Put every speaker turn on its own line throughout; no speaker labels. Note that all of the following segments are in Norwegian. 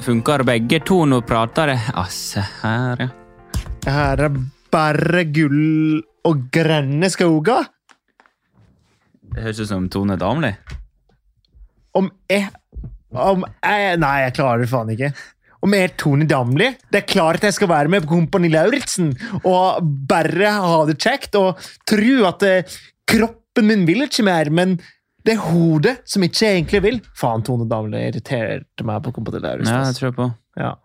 funkar bägge to. Nu pratar det... Asse, här ja.
Det her er bare gull og grønne skoger.
Det høres ut som Tone Damli.
Om jeg Om jeg Nei, jeg klarer det faen ikke. Om jeg er Tone Damli Det er klart jeg skal være med på Kompani Lauritzen og bare ha det kjekt og tro at eh, kroppen min vil ikke mer, men det er hodet som ikke egentlig vil. Faen, Tone Damli irriterte meg på Kompani Lauritzen.
Ja, det
ass.
tror jeg på.
Ja.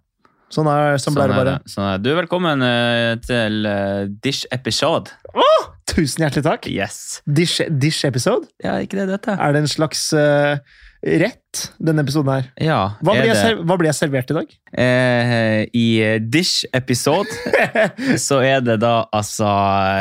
Sånn er sånn
Sånn
ble det
er
bare.
det. Sånn er. det. Du er velkommen eh, til eh, Dish Episode.
Åh, tusen hjertelig takk!
Yes.
Dish, dish episode?
Ja, ikke det dette?
Er det en slags eh, rett, denne episoden her?
Ja,
Hva
er
blir, jeg
det.
ser, hva blir jeg servert i dag?
Eh, I eh, Dish Episode så er det da altså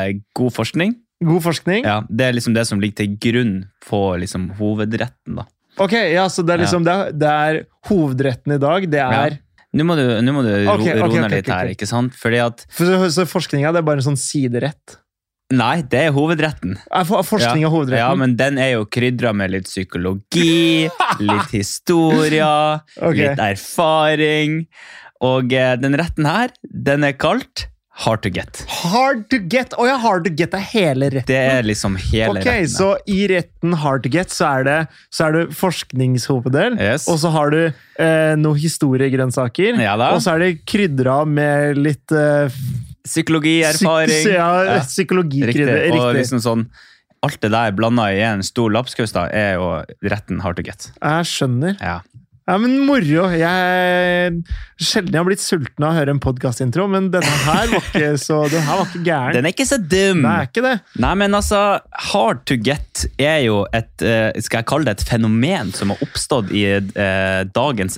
eh, god forskning.
God forskning?
Ja, det er liksom det som ligger til grunn på liksom hovedretten, da.
Ok, ja, så det er liksom det, er- det er hovedretten i dag. Det er
Ja. Nå må du, nå må du ro,
Ok, ok,
roe
ok,
ned litt
ok,
her,
ok.
ikke sant? Fordi at
for så, så forskninga det er bare en sånn siderett.
Nei, det er hovedretten.
Er for- Forskning er hovedretten.
Ja, men den er jo krydra med litt psykologi, litt historie,
Ok.
litt erfaring. Og eh, den retten her, den er kalt hard to get.
Hard to get! Å ja, hard to get er hele retten.
Det er liksom hele
Ok,
retten. her.
Så i retten hard to get så er det, så er det forskningshoveddel,
Yes.
og så har du eh, noen historiegrønnsaker,
Ja da.
og så er det krydra med litt eh,
Psykologi, erfaring.
psyk- ja,
Ja. Riktig.
psykologikrydder.
Og
Riktig.
liksom sånn Alt det der blanda i en stor lapskaus, da, er jo retten hard to get.
Jeg skjønner.
Ja.
Ja, men moro. Jeg sjelden jeg har blitt sulten av å høre en podcastintro, men denne her var ikke så Den her var ikke gæren.
Den er ikke så dum!
Det er ikke det.
Nei, men altså, hard to get er jo et eh, Skal jeg kalle det et fenomen som har oppstått i eh, dagens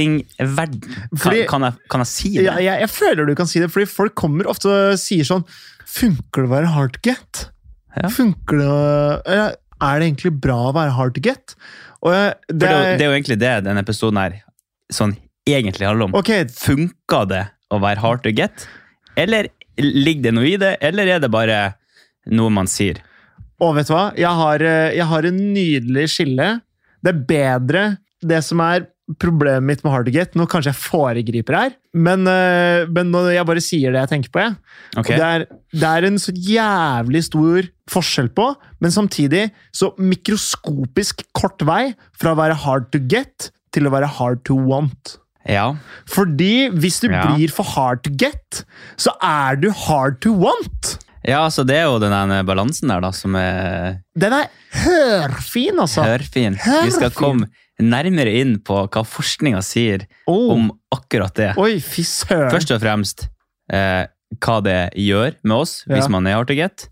datingverden? Kan,
Fordi-
kan, jeg, kan jeg si det?
Jeg, jeg, jeg føler du kan si det, fordi folk kommer ofte og sier sånn Funker det å være hard to get?
Ja.
Funker det å eller, Er det egentlig bra å være hard to get? Og jeg,
For
det,
det, er, jo-
er-
det er jo egentlig det denne episoden her sånn egentlig handler om.
Ok,
Funka det å være hard to get? Eller ligger det noe i det, eller er det bare noe man sier?
og vet du hva? Jeg har, eh, jeg har en nydelig skille. Det er bedre det som er problemet mitt med hard to get. Nå kanskje jeg foregriper her, men, eh, men nå, jeg bare sier det jeg tenker på. Jeg.
Ok?
Det, er, det er en så jævlig stor forskjell på, men samtidig så mikroskopisk kort vei fra å være hard to get til å være hard to want.
Ja.
Fordi hvis du
Ja.
blir for hard to get, så er du hard to want!
ja, så det er jo den der balansen der da, som er
Den er hørfin, altså!
hørfin. Vi skal
Hørfin.
komme nærmere inn på hva forskninga sier
Oh.
om akkurat det.
Oi, fy søren!
Først og fremst eh, hva det gjør med oss hvis
Ja.
man er hard to get.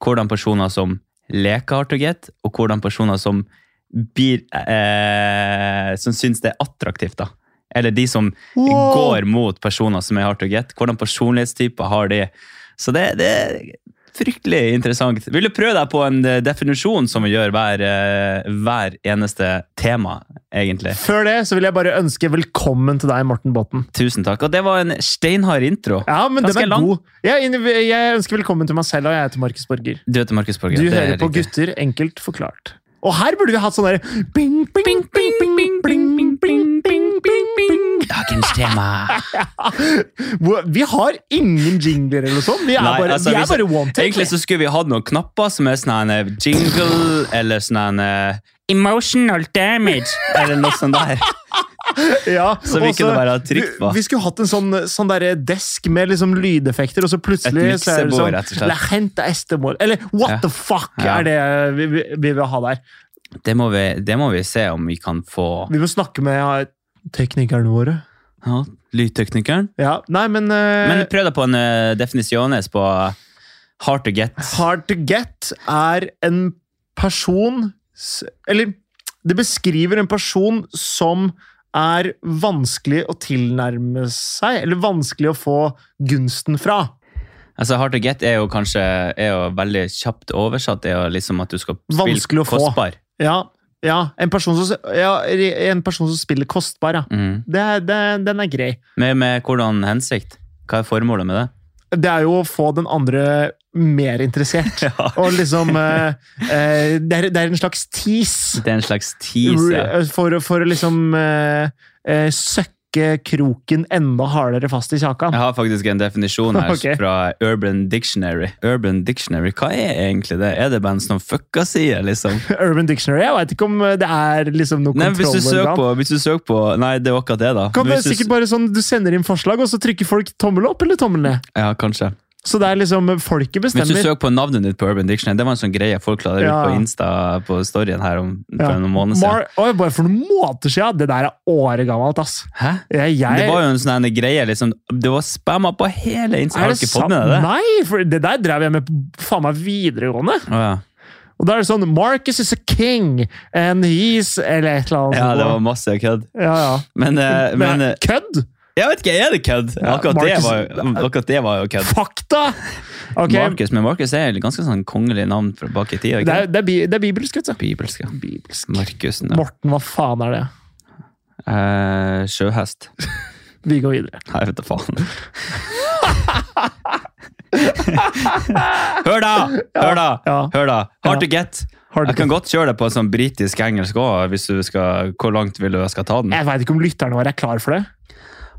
Hvordan personer som leker hard to get, og hvordan personer som, blir, eh, som syns det er attraktivt. da. Eller de som
Wow.
går mot personer som er hard to get. Hvordan personlighetstyper har de? Så det, det er fryktelig interessant. Vil du prøve deg på en eh, definisjon som vi gjør hver, eh, hver eneste tema, egentlig?
Før det så vil jeg bare ønske velkommen til deg, Morten Botten.
Tusen takk. Og det var en steinhard intro.
Ja, men den
Ganske
er
lang.
god. Jeg, jeg ønsker velkommen til meg selv, og jeg heter Markus Borger.
Du heter Markus Borger.
Du
det er
hører på
riktig.
gutter, enkelt forklart. Og her burde vi hatt sånn der bing, bing, bing, bing, bing, bing, bing, bing, bing, bing, bing.
Dagens tema.
Hvor- Vi har ingen jingler eller sånn. Vi er
Nei,
bare,
altså,
vi er
hvis-
bare one take.
Egentlig så skulle vi hatt noen knapper som er sånn en jingle eller sånn en eh, Emotional damage, eller noe sånt der.
Ja,
så vi
og
kunne bare ha trykt på.
Vi, vi skulle hatt en sånn, sånn derre desk med liksom lydeffekter, og så plutselig
Et
så er det
miksebord,
sånn
rett og slett.
La gente este mor. Eller what
Ja.
the fuck
Ja.
er det vi, vi, vi vil ha der.
Det må, vi, det må vi se om vi kan få
Vi må snakke med ja, teknikerne våre.
ja, lydteknikeren.
Ja, nei, men, eh,
Men prøv deg på en uh, definisjones på hard to get.
Hard to get er en person s- Eller det beskriver en person som er vanskelig å tilnærme seg, eller vanskelig å få gunsten fra.
Altså Hard to get er jo kanskje er jo veldig kjapt oversatt. er jo liksom at du skal
Vanskelig
spille
å få.
kostbar.
Ja, ja, en, person som, ja en person som spiller kostbar, ja.
Mm.
Det, er- det, den er grei.
Med, med hvordan hensikt? Hva er formålet med det?
Det er jo å få den andre mer interessert.
Ja.
Og liksom eh, eh, det, er, det er en slags tease.
Det er en slags tease. ja.
For, for å liksom eh, eh, søkke stikke kroken enda hardere fast i kjakan.
Jeg har faktisk en definisjon her
Ok.
fra Urban Dictionary. Urban Dictionary, Hva er egentlig det? Er det band som fucka sier, liksom?
Urban Dictionary, jeg veit ikke om det er liksom noe
Nei, hvis du søker
kontrollorgan.
på, hvis du søker på Nei, det var akkurat det, da.
Kan det
Hvis du-
sikkert bare sånn, Du sender inn forslag, og så trykker folk tommel opp eller tommel ned.
Ja, kanskje.
Så det er liksom folket
Hvis du
bestemmer.
søker på navnet ditt på Urban Dictionary, det var en sånn greie folk la det ut
Ja.
på Insta på storyen her om, for
Ja.
noen måneder siden.
Mar Oi, bare for noen måneder siden! Det der er åregammelt, ass.
Hæ?
Jeg, jeg,
Det var jo en sånn her greie, liksom. Det var spamma på hele Insta. Har du ikke fått med deg det?
Nei, for det der drev jeg med på faen meg videregående.
Å, ja.
Og da er det sånn Marcus is a king, and he's Eller et eller annet.
ja,
sånt.
det var masse kødd.
ja, ja.
Men, eh, men
Men,
eh,
kødd!
Jeg vet ikke, er det kødd?
Ja,
Akkurat, det
Marcus-
var jo- akkurat det var jo kødd.
Fakta! Ok,
Markus, men Markus er et ganske sånn kongelig navn fra bak i tida.
det, er, det, er, bi- det er bibelsk, vet du.
Bibelsk, ja.
Bibelsk.
Markusen, ja.
Morten, hva faen er det?
Eh, sjøhest.
Vi går videre.
Nei, jeg vet da faen. Hør da! Hør da!
Ja.
Hør da! Hard to get.
Hard to
Jeg kan godt kjøre det på sånn britisk-engelsk òg, hvis du skal Hvor langt vil du jeg skal ta den?
Jeg veit ikke om lytterne våre er klar for det.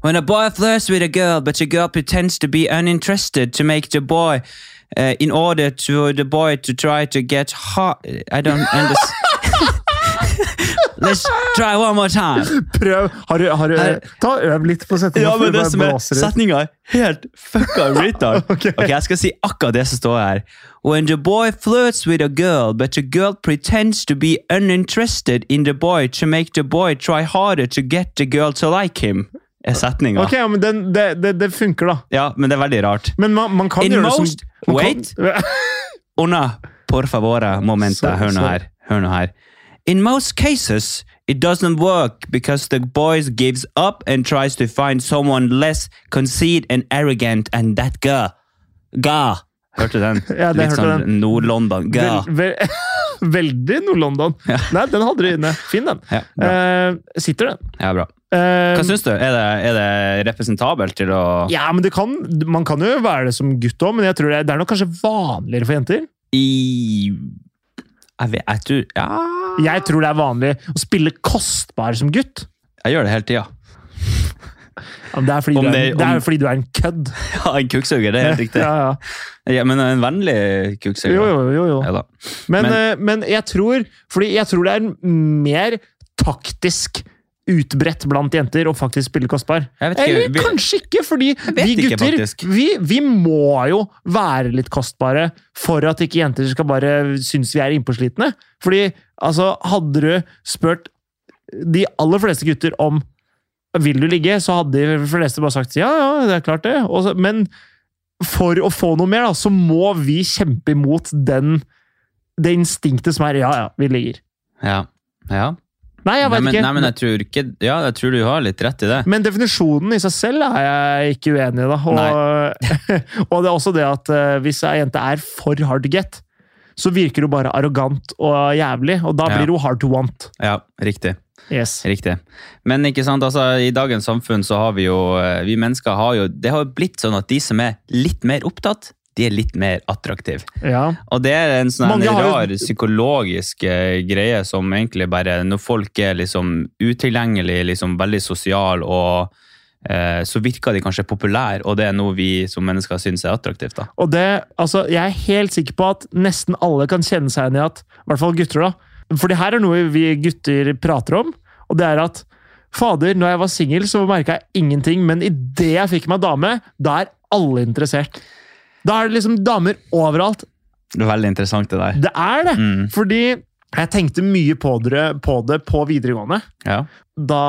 When a boy flirts with a girl, but the girl pretends to be uninterested to make the boy, uh, in order to the boy to try to get hot. uh, I don't understand. Let's try one more time.
Prøv! Har du, har du,
Nei.
ta Øv litt på setninga.
Ja, men det som er setninga er helt fucka retard.
Ok.
ok, jeg skal si akkurat det som står her. When the boy flirts with a girl, but the girl pretends to be uninterested in the boy to make the boy try harder to get the girl to like him. Er setninga.
Ok, ja, men den, det, det, det funker, da.
Ja, men det er veldig rart.
Men man, man kan
In
gjøre
most-
det som man kan-
Wait. Una, por favor, momenta,
Sorry,
hør nå
sorry.
her. Hør nå her. In most cases, it doesn't work because the boys gives up and tries to find someone less conceited and arrogant and that girl. Ga. Hørte den?
Ja, det
Litt
hørte
sånn Nord-London. Ga.
Vel, vel, veldig Nord-London. Nei, den hadde du inne. Fin den.
Ja, bra.
Eh, sitter den.
Ja, bra.
Eh,
Hva syns du? Er det, er det representabelt til å
ja, men det kan, Man kan jo være det som gutt òg, men jeg tror det, er- det er nok kanskje vanligere for jenter.
I Jeg vet Jeg tror Ja.
Jeg tror det er vanlig å spille kostbar som gutt.
Jeg gjør det hele tida.
Ja, men det, er fordi
Om
du er,
det-
det er
om-
fordi du er en kødd.
Ja, en kukksuger, det er helt riktig.
Ja, ja.
Ja, men en vennlig kukksuger.
Jo, jo, jo. jo.
Ja da.
Men,
Men-
eh, men jeg tror Fordi jeg tror det er mer taktisk utbredt blant jenter å faktisk spille kostbar.
Jeg vet ikke,
Eller
vi-
kanskje ikke, fordi
vet
vi
ikke,
gutter
faktisk.
vi, vi må jo være litt kostbare for at ikke jenter skal bare synes vi er innpåslitne. Fordi altså, hadde du spurt de aller fleste gutter om vil du ligge, så hadde de fleste bare sagt ja, ja, det er klart det. Og så, men for å få noe mer, da, så må vi kjempe imot den, det instinktet som er ja, ja, vi ligger.
Ja. ja.
Nei, jeg
nei,
veit
men,
ikke.
Nei, men jeg tror ikke Ja, jeg tror du har litt rett i det.
Men definisjonen i seg selv er jeg ikke uenig i. da. Og, og det er også det at eh, hvis ei jente er for hard to get, så virker hun bare arrogant og jævlig, og da
Ja.
blir hun hard to want.
Ja, riktig.
Yes.
riktig. Men ikke sant, altså, i dagens samfunn så har vi jo eh, Vi mennesker har jo Det har jo blitt sånn at de som er litt mer opptatt, de er litt mer attraktive.
Ja.
Og det er en sånn
Mange
en
har jo-
rar psykologisk eh, greie som egentlig bare Når folk er liksom utilgjengelig, liksom veldig sosial og eh, så virker de kanskje populære, og det er noe vi som mennesker syns er attraktivt. da.
Og det, altså, jeg er helt sikker på at nesten alle kan kjenne seg igjen i at I hvert fall gutter, da. For det her er noe vi gutter prater om, og det er at Fader, når jeg var singel, så merka jeg ingenting, men idet jeg fikk meg dame, da er alle interessert. Da er det liksom damer overalt.
Det er Veldig interessant, det der.
Det er det!
Mm.
Fordi jeg tenkte mye på, dere, på det på videregående.
Ja.
Da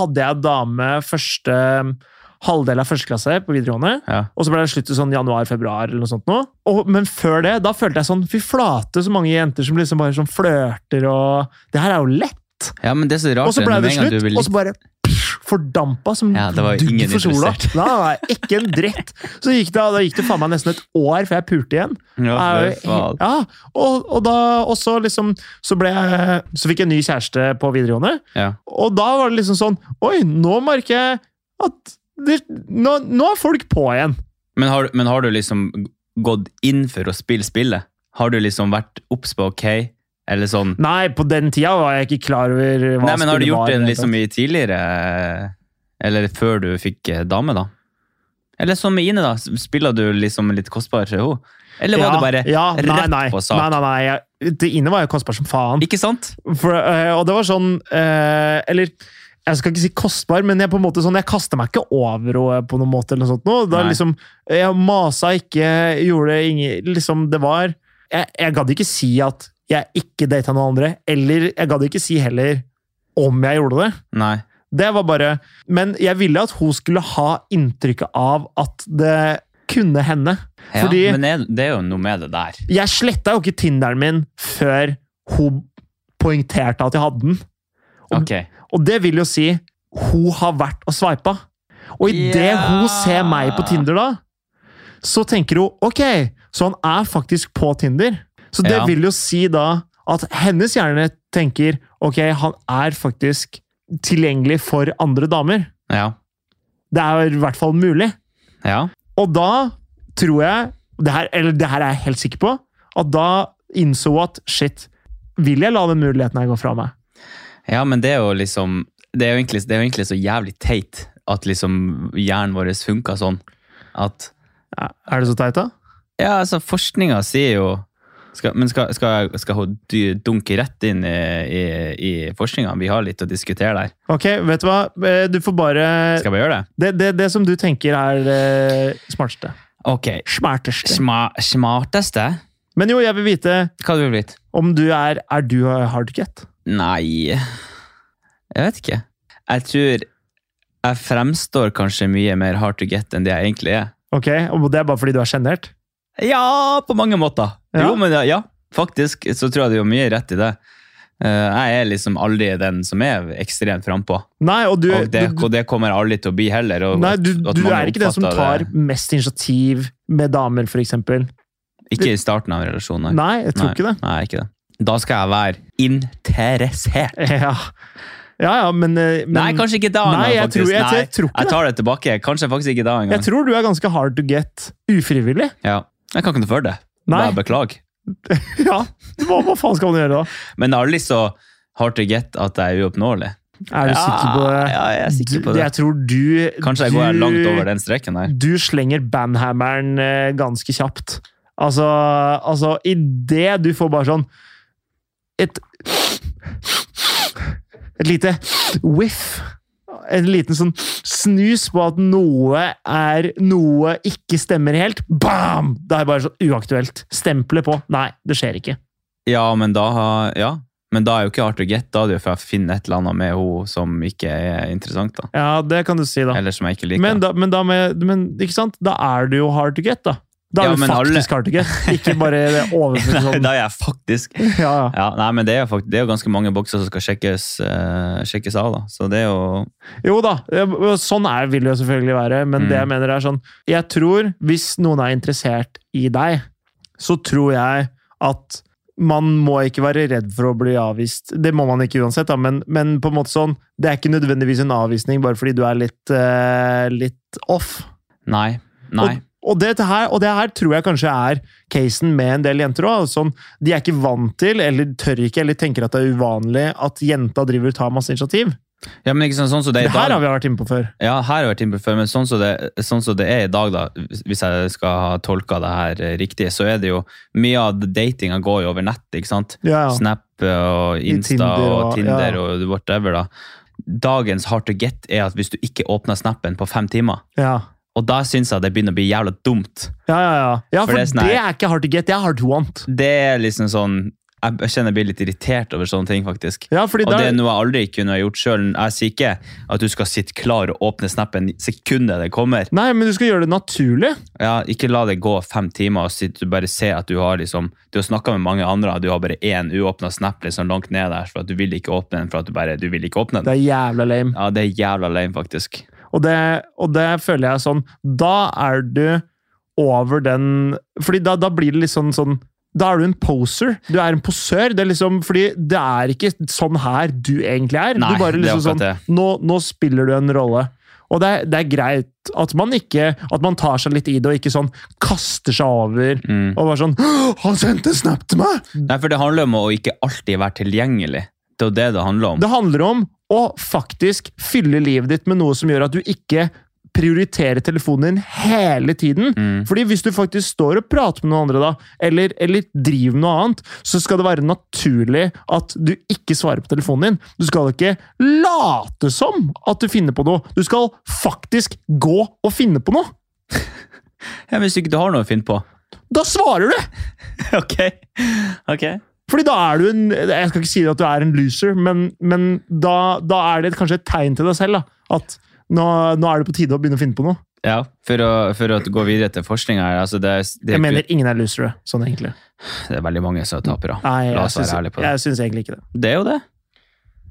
hadde jeg dame første um, halvdel av første klasse på videregående.
ja.
Og så ble det slutt i sånn januar-februar eller noe sånt. Nå. Og, men før det, da følte jeg sånn Fy flate, så mange jenter som liksom bare sånn flørter og Det her er jo lett!
Ja, men det er så rart.
Og så
det,
ble
med
det
en gang
slutt,
du blir
og så bare pff, fordampa som
Ja, det var jo
dugg
ingen
for sola.
interessert.
Nei, nei, ikke en dritt. Så gikk det, da gikk det faen meg nesten et år før jeg pulte igjen.
Ja,
Er
for
jo
faen.
he- ja, og, og da og så liksom så, ble jeg, så fikk jeg en ny kjæreste på videregående,
Ja.
og da var det liksom sånn Oi, nå merker jeg at det, nå, nå er folk på igjen.
Men, har, men har du liksom gått inn for å spille spillet? Har du liksom vært obs på OK? Eller sånn
Nei, på den tida var jeg ikke klar over hva
Nei, men har du
spillet
gjort liksom det liksom
var, rett og
i tidligere Eller før du fikk eh, dame, da. Eller som med Ine, da. Spiller du liksom litt kostbar til henne? Eller var
ja,
du bare
ja, nei,
rett
nei,
på sak?
Nei, nei, nei. Jeg, det inne var jo kostbart som faen.
Ikke sant?
For, eh, og det var sånn eh, Eller jeg skal ikke si kostbar, men jeg på en måte sånn, jeg kasta meg ikke over henne på noen måte. eller noe sånt. nå. Da,
Nei.
liksom, jeg masa ikke, gjorde ingen liksom, Det var Jeg, jeg gadd ikke si at jeg ikke data noen andre, eller jeg gadd ikke si heller om jeg gjorde det.
Nei.
Det var bare Men jeg ville at hun skulle ha inntrykket av at det kunne hende.
Ja,
Fordi-
Men er- det er jo noe med det der.
Jeg sletta jo ikke Tinderen min før hun poengterte at jeg hadde den. Om-
Ok.
Og det vil jo si hun har vært og sveipa. Og idet
Ja.
hun ser meg på Tinder, da, så tenker hun ok, så han er faktisk på Tinder. Så det
Ja.
vil jo si da at hennes hjerne tenker ok, han er faktisk tilgjengelig for andre damer.
Ja.
Det er i hvert fall mulig.
ja.
Og da tror jeg, det her, eller det her er jeg helt sikker på, at da innså hun at shit, vil jeg la den muligheten her gå fra meg?
Ja, men det er jo liksom Det er jo egentlig, det er jo egentlig så jævlig teit at liksom hjernen vår funker sånn. At
Ja, Er det så teit, da?
Ja, altså, forskninga sier jo skal, Men skal, skal, skal hun dy- dunke rett inn i, i, i forskninga? Vi har litt å diskutere der.
Ok, vet du hva? Eh, Du får bare
Skal vi gjøre det?
det, det, det som du tenker er det smarteste.
Ok.
Smerteste.
Sma, smarteste?
Men jo, jeg vil vite
Hva hadde du blitt?
om du er Er du hardget?
Nei Jeg vet ikke. Jeg tror jeg fremstår kanskje mye mer hard to get enn det jeg egentlig er.
Ok, og det er bare fordi du er sjenert?
Ja, på mange måter.
Ja.
Jo, men ja, ja, faktisk så tror jeg du har mye rett i det. Eh, Jeg er liksom aldri den som er ekstremt frampå.
Nei, og du,
Og det,
du,
og det kommer jeg aldri til å bli heller. Og,
nei, du,
at
du
mange
er ikke den som
oppfatter
tar
det-
mest initiativ med damer, for eksempel.
Ikke i starten av relasjonen.
Nei, jeg tror
Nei,
ikke det.
Nei, ikke det. Da skal jeg være interessert.
Ja, ja, ja men, eh, men
nei, kanskje ikke da engang,
Nei, jeg tror-
faktisk.
jeg-
Nei,
jeg tror ikke
jeg tar det tilbake. Kanskje faktisk ikke da engang.
Jeg
Jeg,
tror du er ganske hard to get ufrivillig.
ja. jeg kan ikke noe for det.
Nei.
Bare beklag.
Ja, hva, hva faen skal man gjøre da?
Men det er aldri så hard to get at jeg er uoppnåelig.
Er du
Ja,
sikker på det?
ja, jeg er sikker på
Du-
det.
Jeg tror du
Kanskje jeg
du,
går langt over den streken der.
Du slenger banhammeren eh, ganske kjapt. Altså, altså idet du får bare sånn Et Et lite whiff. En liten sånn snus på at noe er Noe ikke stemmer helt. Bam! Det er bare så uaktuelt. Stempelet på. Nei, det skjer ikke.
Ja, men da, har- ja. men da er jo ikke hard to get. Da er det jo for jeg finner et eller annet med henne som ikke er interessant. da.
Ja, det kan du si, da.
Eller som jeg ikke liker.
Men, da, men, da med, men ikke sant? Da er du jo hard to get, da. Da er
Ja,
du
men
faktisk
alle-
hard to get, ikke bare det overfor
Nei,
sånn.
da er jeg faktisk
Ja, ja.
ja, Nei, men det er, jo fakt- det er jo ganske mange bokser som skal sjekkes, eh, sjekkes av, da. Så det er jo
Jo da, sånn er, vil det jo selvfølgelig være, men
Mm.
det jeg mener er sånn Jeg tror, hvis noen er interessert i deg, så tror jeg at man må ikke være redd for å bli avvist. Det må man ikke uansett, da, men, men på en måte sånn, det er ikke nødvendigvis en avvisning bare fordi du er litt, eh, litt off.
Nei. Nei.
Og, og, dette her, og det her tror jeg kanskje er casen med en del jenter òg. Sånn, de er ikke vant til, eller tør ikke, eller tenker at det er uvanlig at jenta driver og tar masse initiativ.
Ja, men ikke sånn, sånn som det er
Det
i
her
dag.
har vi vært inne på før.
Ja, her har jeg vært inne på før, men sånn som det, sånn som det er i dag, da, hvis jeg skal ha tolka det her eh, riktig, så er det jo mye av datinga går jo over nett, ikke sant?
Ja, ja.
Snap eh, og Insta
Tinder og-
og Tinder
ja.
og whatever. da. Dagens hard to get er at hvis du ikke åpner snappen på fem timer,
Ja,
og da syns jeg det begynner å bli jævla dumt.
ja, ja. ja. ja
For
for,
det er sånn her-
det er ikke hard to get, det er hard to want.
Det er liksom sånn Jeg jeg kjenner jeg blir litt irritert over sånne ting, faktisk.
Ja, fordi
Og
da,
det er noe jeg aldri kunne ha gjort sjøl. Jeg sier ikke at du skal sitte klar og åpne snappen sekundet det kommer.
Nei, men du skal gjøre det naturlig.
Ja, ikke la det gå fem timer og sitte, du bare se at du har liksom Du har snakka med mange andre, og du har bare én uåpna snap liksom langt ned der, for at du vil ikke åpne den for at du bare du vil ikke åpne den.
Det er jævla lame.
Ja, det er jævla lame, faktisk.
Og det, og det føler jeg er sånn Da er du over den Fordi da, da blir det litt sånn, sånn Da er du en poser. Du er en posør. Det er liksom, fordi det er ikke sånn her du egentlig er.
Nei,
du bare
det er
liksom sånn
akkurat
nå, nå spiller du en rolle. Og det er, det er greit at man ikke At man tar seg litt i det, og ikke sånn kaster seg over.
Mm.
Og bare sånn «Åh, 'Han sendte en snap til meg!'
Nei, for det handler om å ikke alltid være tilgjengelig. Det er jo det det handler om.
Det handler om og faktisk fylle livet ditt med noe som gjør at du ikke prioriterer telefonen din hele tiden.
Mm.
Fordi hvis du faktisk står og prater med noen andre, da, eller, eller driver noe annet, så skal det være naturlig at du ikke svarer på telefonen din. Du skal ikke late som at du finner på noe. Du skal faktisk gå og finne på noe.
Ja, men Hvis ikke du har noe å finne på.
Da svarer du!
ok. Ok.
Fordi da er du en Jeg skal ikke si at du er en loser, men, men da, da er det kanskje et tegn til deg selv da, at nå, nå er det på tide å begynne å finne på noe.
Ja, for å, for å gå videre til forskninga her. Altså det, er- det, er
Jeg
ikke-
mener ingen er losere, sånn egentlig.
det er veldig mange som er tapere. La
Nei, jeg
oss være
syns,
ærlige på det.
jeg syns egentlig ikke det.
Det er jo det.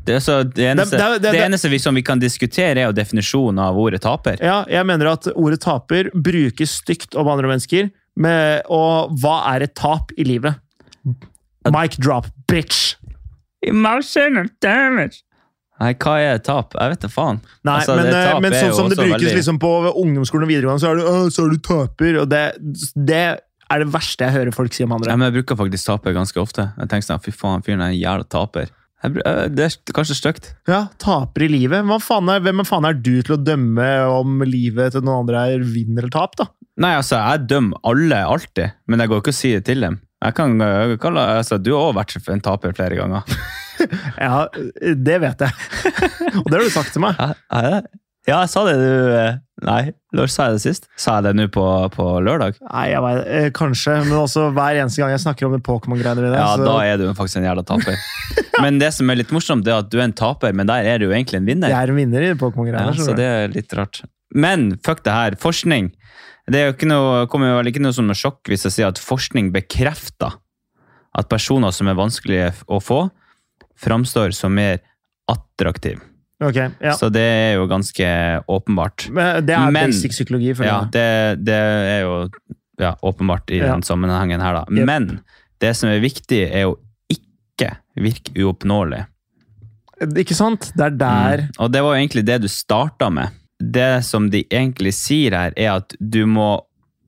Det, er så, det eneste, det,
det- det- det-
eneste vi, som vi kan diskutere, er jo definisjonen av ordet taper.
Ja, jeg mener at ordet taper brukes stygt om andre mennesker, med, og hva er et tap i livet? Mic drop, bitch!
Emotional damage. Nei, hva er tap? Jeg vet da faen.
Nei,
Altså,
men,
det
eh,
tap
men
er
sånn
jo
som det
også
brukes
veldig-
liksom på ungdomsskolen og videregående, så er det «Å, så er du taper, og det, det er det verste jeg hører folk si om
Ja,
andre.
men jeg bruker faktisk taper ganske ofte. Jeg tenker sånn, fy faen, fyren er en jævla taper. Jeg, br- øh, det er kanskje stygt.
Ja, taper i livet. Hva faen er, hvem faen er du til å dømme om livet til noen andre er vinn eller tap, da?
Nei, altså, jeg dømmer alle alltid, men jeg går ikke og sier det til dem. Jeg kan, jeg kan, altså, du har også vært en taper flere ganger.
Ja, det vet jeg. Og det har du sagt til meg.
Hæ? Er det? Ja, jeg sa det du eh, Nei, når sa jeg det sist? Sa jeg det nå på, på lørdag?
Nei, jeg vet, eh, kanskje, men også hver eneste gang jeg snakker om det Pokémon-greiene mine.
Ja,
så-
da er du faktisk en jævla taper. Men det som er litt morsomt, det er at du er en taper, men der er du jo egentlig en vinner.
Jeg er en vinner i
Ja,
Pokémon-greiene.
så det er litt rart. Men fuck det her. Forskning. Det er jo ikke noe, kommer jo vel ikke noe som noe sjokk hvis jeg sier at forskning bekrefter at personer som er vanskelige å få, framstår som mer attraktive.
Ok, ja.
Så det er jo ganske åpenbart.
Men eh, det er
Men-
basic psykologi. For
Ja,
meg.
det, det er jo ja, åpenbart i
Ja.
den sammenhengen her, da.
Jep.
Men det som er viktig, er jo ikke virke uoppnåelig.
Ikke sant? Det er der
Mm. Og det var jo egentlig det du starta med. Det som de egentlig sier her, er at du må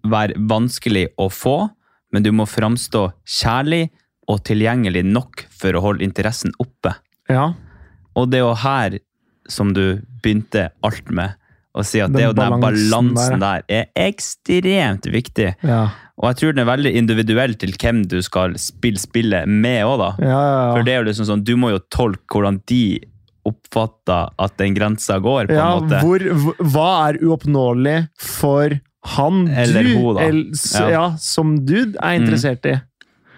være vanskelig å få, men du må framstå kjærlig og tilgjengelig nok for å holde interessen oppe.
Ja,
Og det er jo her som du begynte alt med, å si at det er jo den
Den balansen
balansen der er ekstremt viktig.
ja,
Og jeg tror den er veldig individuell til hvem du skal spille spillet med òg, da.
ja. ja,
For
ja.
det er jo liksom sånn, du må jo tolke hvordan de oppfatter at den grensa går, på
ja
en måte.
hvor, hv- hva er uoppnåelig for han
Eller
du,
hun, da.
el- s-
Ja.
ja. som du er interessert i?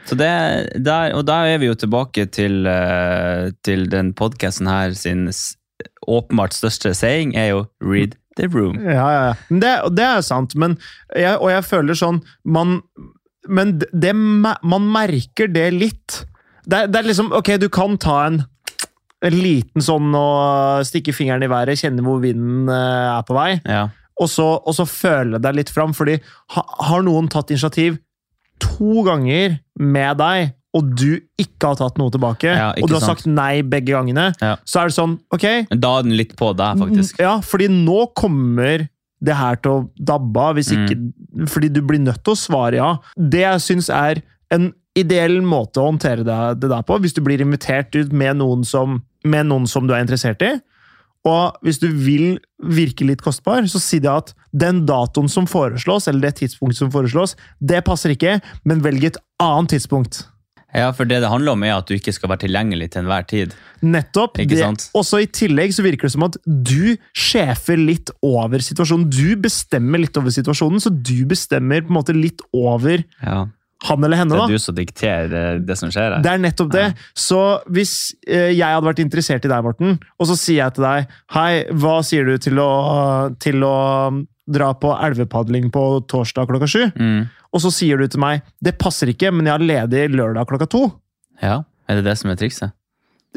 Så det, der, og der er vi jo tilbake til, eh, til den podkasten her sin s- åpenbart største saying, er jo 'read the room'.
Ja, ja, ja. Men Det, og det er jo sant, men jeg, og jeg føler sånn man, Men det, det, me- man merker det litt. Det, er- det er liksom Ok, du kan ta en en liten sånn og stikke fingeren i været, kjenne hvor vinden eh, er på vei,
Ja.
og så, og så føle deg litt fram. Fordi ha, har noen tatt initiativ to ganger med deg, og du ikke har tatt noe tilbake,
Ja, ikke
og du har
sant.
sagt nei begge gangene,
Ja.
så er det sånn Ok,
Men Da er den litt på deg, faktisk.
Mm, Ja, fordi nå kommer det her til å dabbe av, hvis ikke Fordi du blir nødt til å svare ja. Det jeg syns er en ideell måte å håndtere det, det der på, hvis du blir invitert ut med noen som, med noen som du er interessert i. Og hvis du vil virke litt kostbar, så si det at den datoen som foreslås, eller det tidspunktet som foreslås, det passer ikke, men velg et annet tidspunkt.
Ja, for det det handler om, er at du ikke skal være tilgjengelig til enhver tid.
Nettopp.
Ikke
det,
sant?
Også I tillegg så virker det som at du sjefer litt over situasjonen. Du bestemmer litt over situasjonen, så du bestemmer på en måte litt over
Ja.
han eller
Det
henne.
er
da.
du som dikterer eh, det som skjer her.
Det er nettopp det. Så hvis eh, jeg hadde vært interessert i deg, Morten, og så sier jeg til deg Hei, hva sier du til å, til å um, dra på elvepadling på torsdag klokka sju?
Mm.
Og så sier du til meg Det passer ikke, men jeg har ledig lørdag klokka to.
Ja, er det det som er trikset?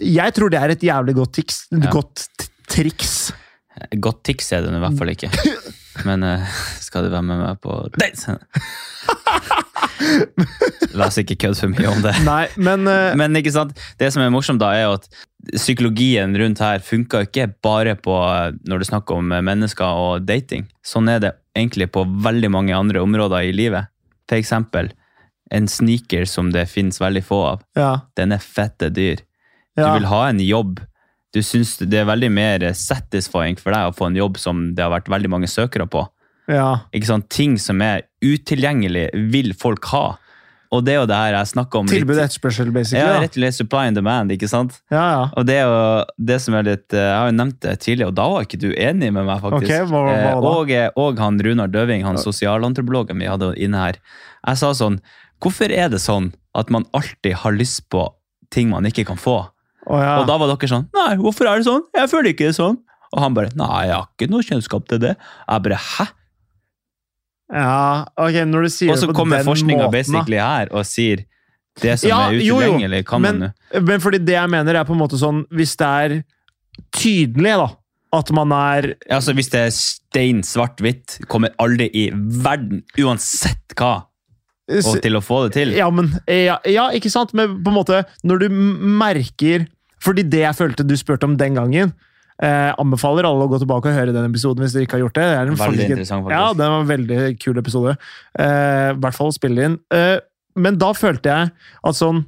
Jeg tror det er et jævlig godt, tiks,
Ja.
godt t- triks.
Godt tiks er det nå i hvert fall ikke. Men eh, skal du være med meg på date? La oss ikke kødde for mye om det.
Nei, men eh,
Men ikke sant? det som er morsomt, da, er jo at psykologien rundt her funker ikke bare på eh, når det er snakk om eh, mennesker og dating. Sånn er det egentlig på veldig mange andre områder i livet. For eksempel en sneaker som det finnes veldig få av.
Ja.
Den er fette dyr. Du
ja.
vil ha en jobb du syns det er veldig mer satisfying for deg å få en jobb som det har vært veldig mange søkere på.
Ja.
Ikke sant? Ting som er utilgjengelig, vil folk ha. Og det er jo det her jeg snakker om. litt-
Tilbud og etterspørsel, basically.
Ja,
Ja,
rett og slett supply and demand, ikke sant?
ja. ja.
Og det, er jo det som er litt, eh, Jeg har jo nevnt det tidligere, og da var ikke du enig med meg, faktisk.
Ok, hva- hva
Eh,
da?
og, eh, og han Runar Døving, han sosialantropologen vi hadde inne her. Jeg sa sånn Hvorfor er det sånn at man alltid har lyst på ting man ikke kan få?
Å, ja.
Og da var dere sånn Nei, hvorfor er det sånn? Jeg føler ikke det sånn. Og han bare Nei, jeg har ikke noe kjennskap til det. Jeg bare Hæ?
ja, ok, når du sier
Og så
det på
kommer
den
forskninga
måten, da.
basically her og sier det som
Ja,
er
jo, jo,
utilgjengelig, kan
men-
man jo
Men fordi det jeg mener, er på en måte sånn Hvis det er tydelig, da, at man er
Altså, Hvis det er stein svart-hvitt, kommer aldri i verden, uansett hva, og til å få det til.
Ja, men, ja, ja, ikke sant? Men på en måte, når du m- merker Fordi det jeg følte du spurte om den gangen eh, Anbefaler alle å gå tilbake og høre den episoden hvis dere ikke har gjort det. det er en
Veldig
faktisk-
interessant, faktisk.
Ja, den var en veldig kul episode. Eh, I hvert fall å spille inn. Eh, men da følte jeg at sånn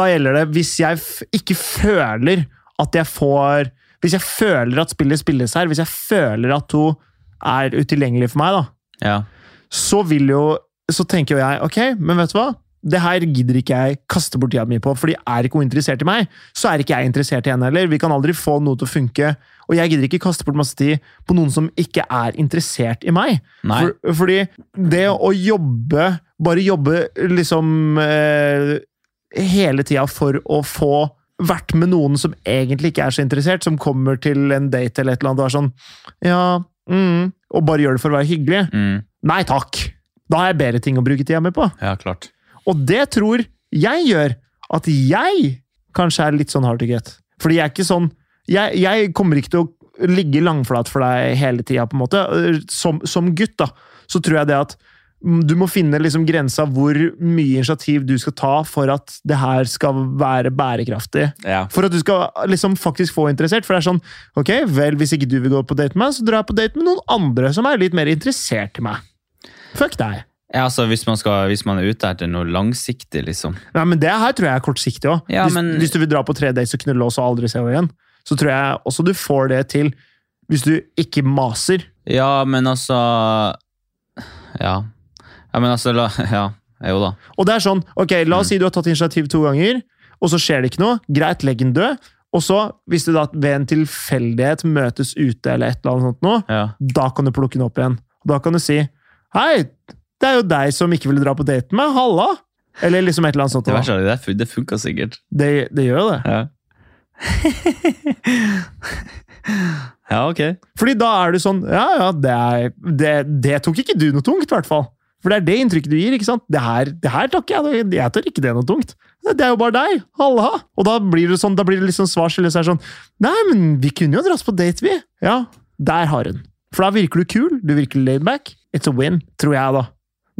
Da gjelder det hvis jeg f ikke føler at jeg får Hvis jeg føler at spillet spilles her, hvis jeg føler at hun er utilgjengelig for meg, da
Ja.
så vil jo Så tenker jo jeg, ok, men vet du hva? Det her gidder ikke jeg kaste bort tida mi på, for de er ikke hun interessert i meg. Så er ikke jeg interessert i henne heller. Vi kan aldri få noe til å funke. Og jeg gidder ikke kaste bort masse tid på noen som ikke er interessert i meg.
Nei.
For, fordi det å jobbe, bare jobbe liksom eh, hele tida for å få vært med noen som egentlig ikke er så interessert, som kommer til en date eller et eller annet og er sånn Ja, mm, og bare gjør det for å være hyggelig.
Mm.
Nei takk! Da har jeg bedre ting å bruke tida mi på.
Ja, klart.
Og det tror jeg gjør at jeg kanskje er litt sånn hard to get. Fordi jeg er ikke sånn Jeg, jeg kommer ikke til å ligge langflat for deg hele tida, på en måte. Som, som gutt, da, så tror jeg det at mm, du må finne liksom grensa hvor mye initiativ du skal ta for at det her skal være bærekraftig.
Ja.
For at du skal liksom faktisk få interessert. For det er sånn Ok, vel, hvis ikke du vil gå på date med meg, så drar jeg på date med noen andre som er litt mer interessert i meg. Fuck deg.
ja, altså hvis man, skal, hvis man er ute etter noe langsiktig, liksom.
Nei, men Det her tror jeg er kortsiktig òg.
Ja,
hvis,
men-
hvis du vil dra på tre dates og knulle og så aldri se henne igjen, så tror jeg også du får det til hvis du ikke maser.
Ja, men altså Ja. Ja, men altså la, Ja, jo da.
Og det er sånn, ok, La oss si du har tatt initiativ to ganger, og så skjer det ikke noe. Greit, legg den død. Og så, hvis du da ved en tilfeldighet møtes ute, eller et eller annet sånt noe,
Ja.
da kan du plukke den opp igjen. Da kan du si Hei, det er jo deg som ikke ville dra på date med. Halla! Eller liksom et eller annet sånt.
Det
Det,
verste er det, fun- det funka sikkert.
det, det gjør jo det.
Ja. ja, ok.
Fordi da er du sånn Ja, ja, det, er, det, det tok ikke du noe tungt, i hvert fall. For det er det inntrykket du gir. ikke sant? Det her, det her tar ikke jeg, jeg tar ikke det noe tungt. Det er jo bare deg. Halla! Og da blir det sånn, da blir det litt sånn svar skyldes her sånn Nei, men vi kunne jo dratt på date, vi. Ja, der har hun. For da virker du kul, du virker laidback. It's a win, tror jeg, da.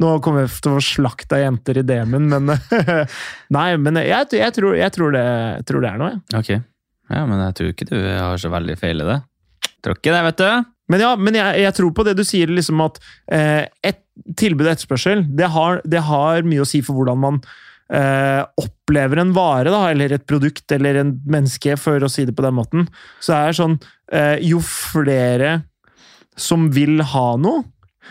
Nå kommer jeg til å slakte jenter i DM-en, men Nei, men jeg, jeg, tror, jeg, tror, det, jeg tror det er noe, jeg.
Ok. Ja, men jeg tror ikke du har så veldig feil i det. Tror ikke det, vet du.
Men ja, men jeg, jeg tror på det du sier, liksom at eh, et tilbud og etterspørsel, det har, det har mye å si for hvordan man eh, opplever en vare, da, eller et produkt eller en menneske, for å si det på den måten. Så det er sånn eh, Jo flere som vil ha noe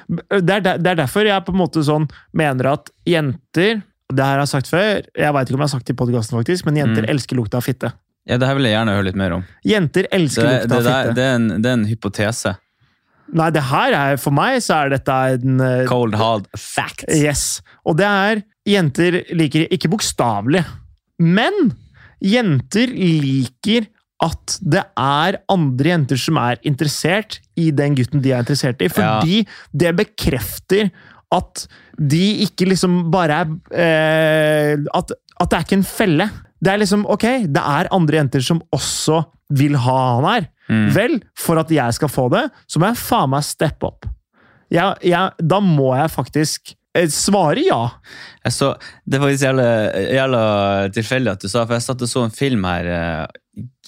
det er, der, det er derfor jeg på en måte sånn mener at jenter Det her har jeg sagt før, jeg veit ikke om jeg har sagt det i podkasten, faktisk, men jenter
Mm.
elsker lukta av fitte.
Ja, det her vil jeg gjerne høre litt mer om.
Jenter
Det,
elsker
det,
lukta av fitte.
der- det, er, en, det er en hypotese.
Nei, det her er for meg så er dette en eh,
Cold hard fact.
Yes. Og det er Jenter liker ikke bokstavelig, men jenter liker at det er andre jenter som er interessert i den gutten de er interessert i, fordi det bekrefter at de ikke liksom bare er eh, at, at det er ikke en felle. Det er liksom ok, det er andre jenter som også vil ha han her.
Mm.
Vel, for at jeg skal få det, så må jeg faen meg steppe opp. Jeg, jeg, da må jeg faktisk eh, svare ja.
Jeg så, det er faktisk jævla, jævla tilfeldig at du sa, for jeg satt og så en film her eh,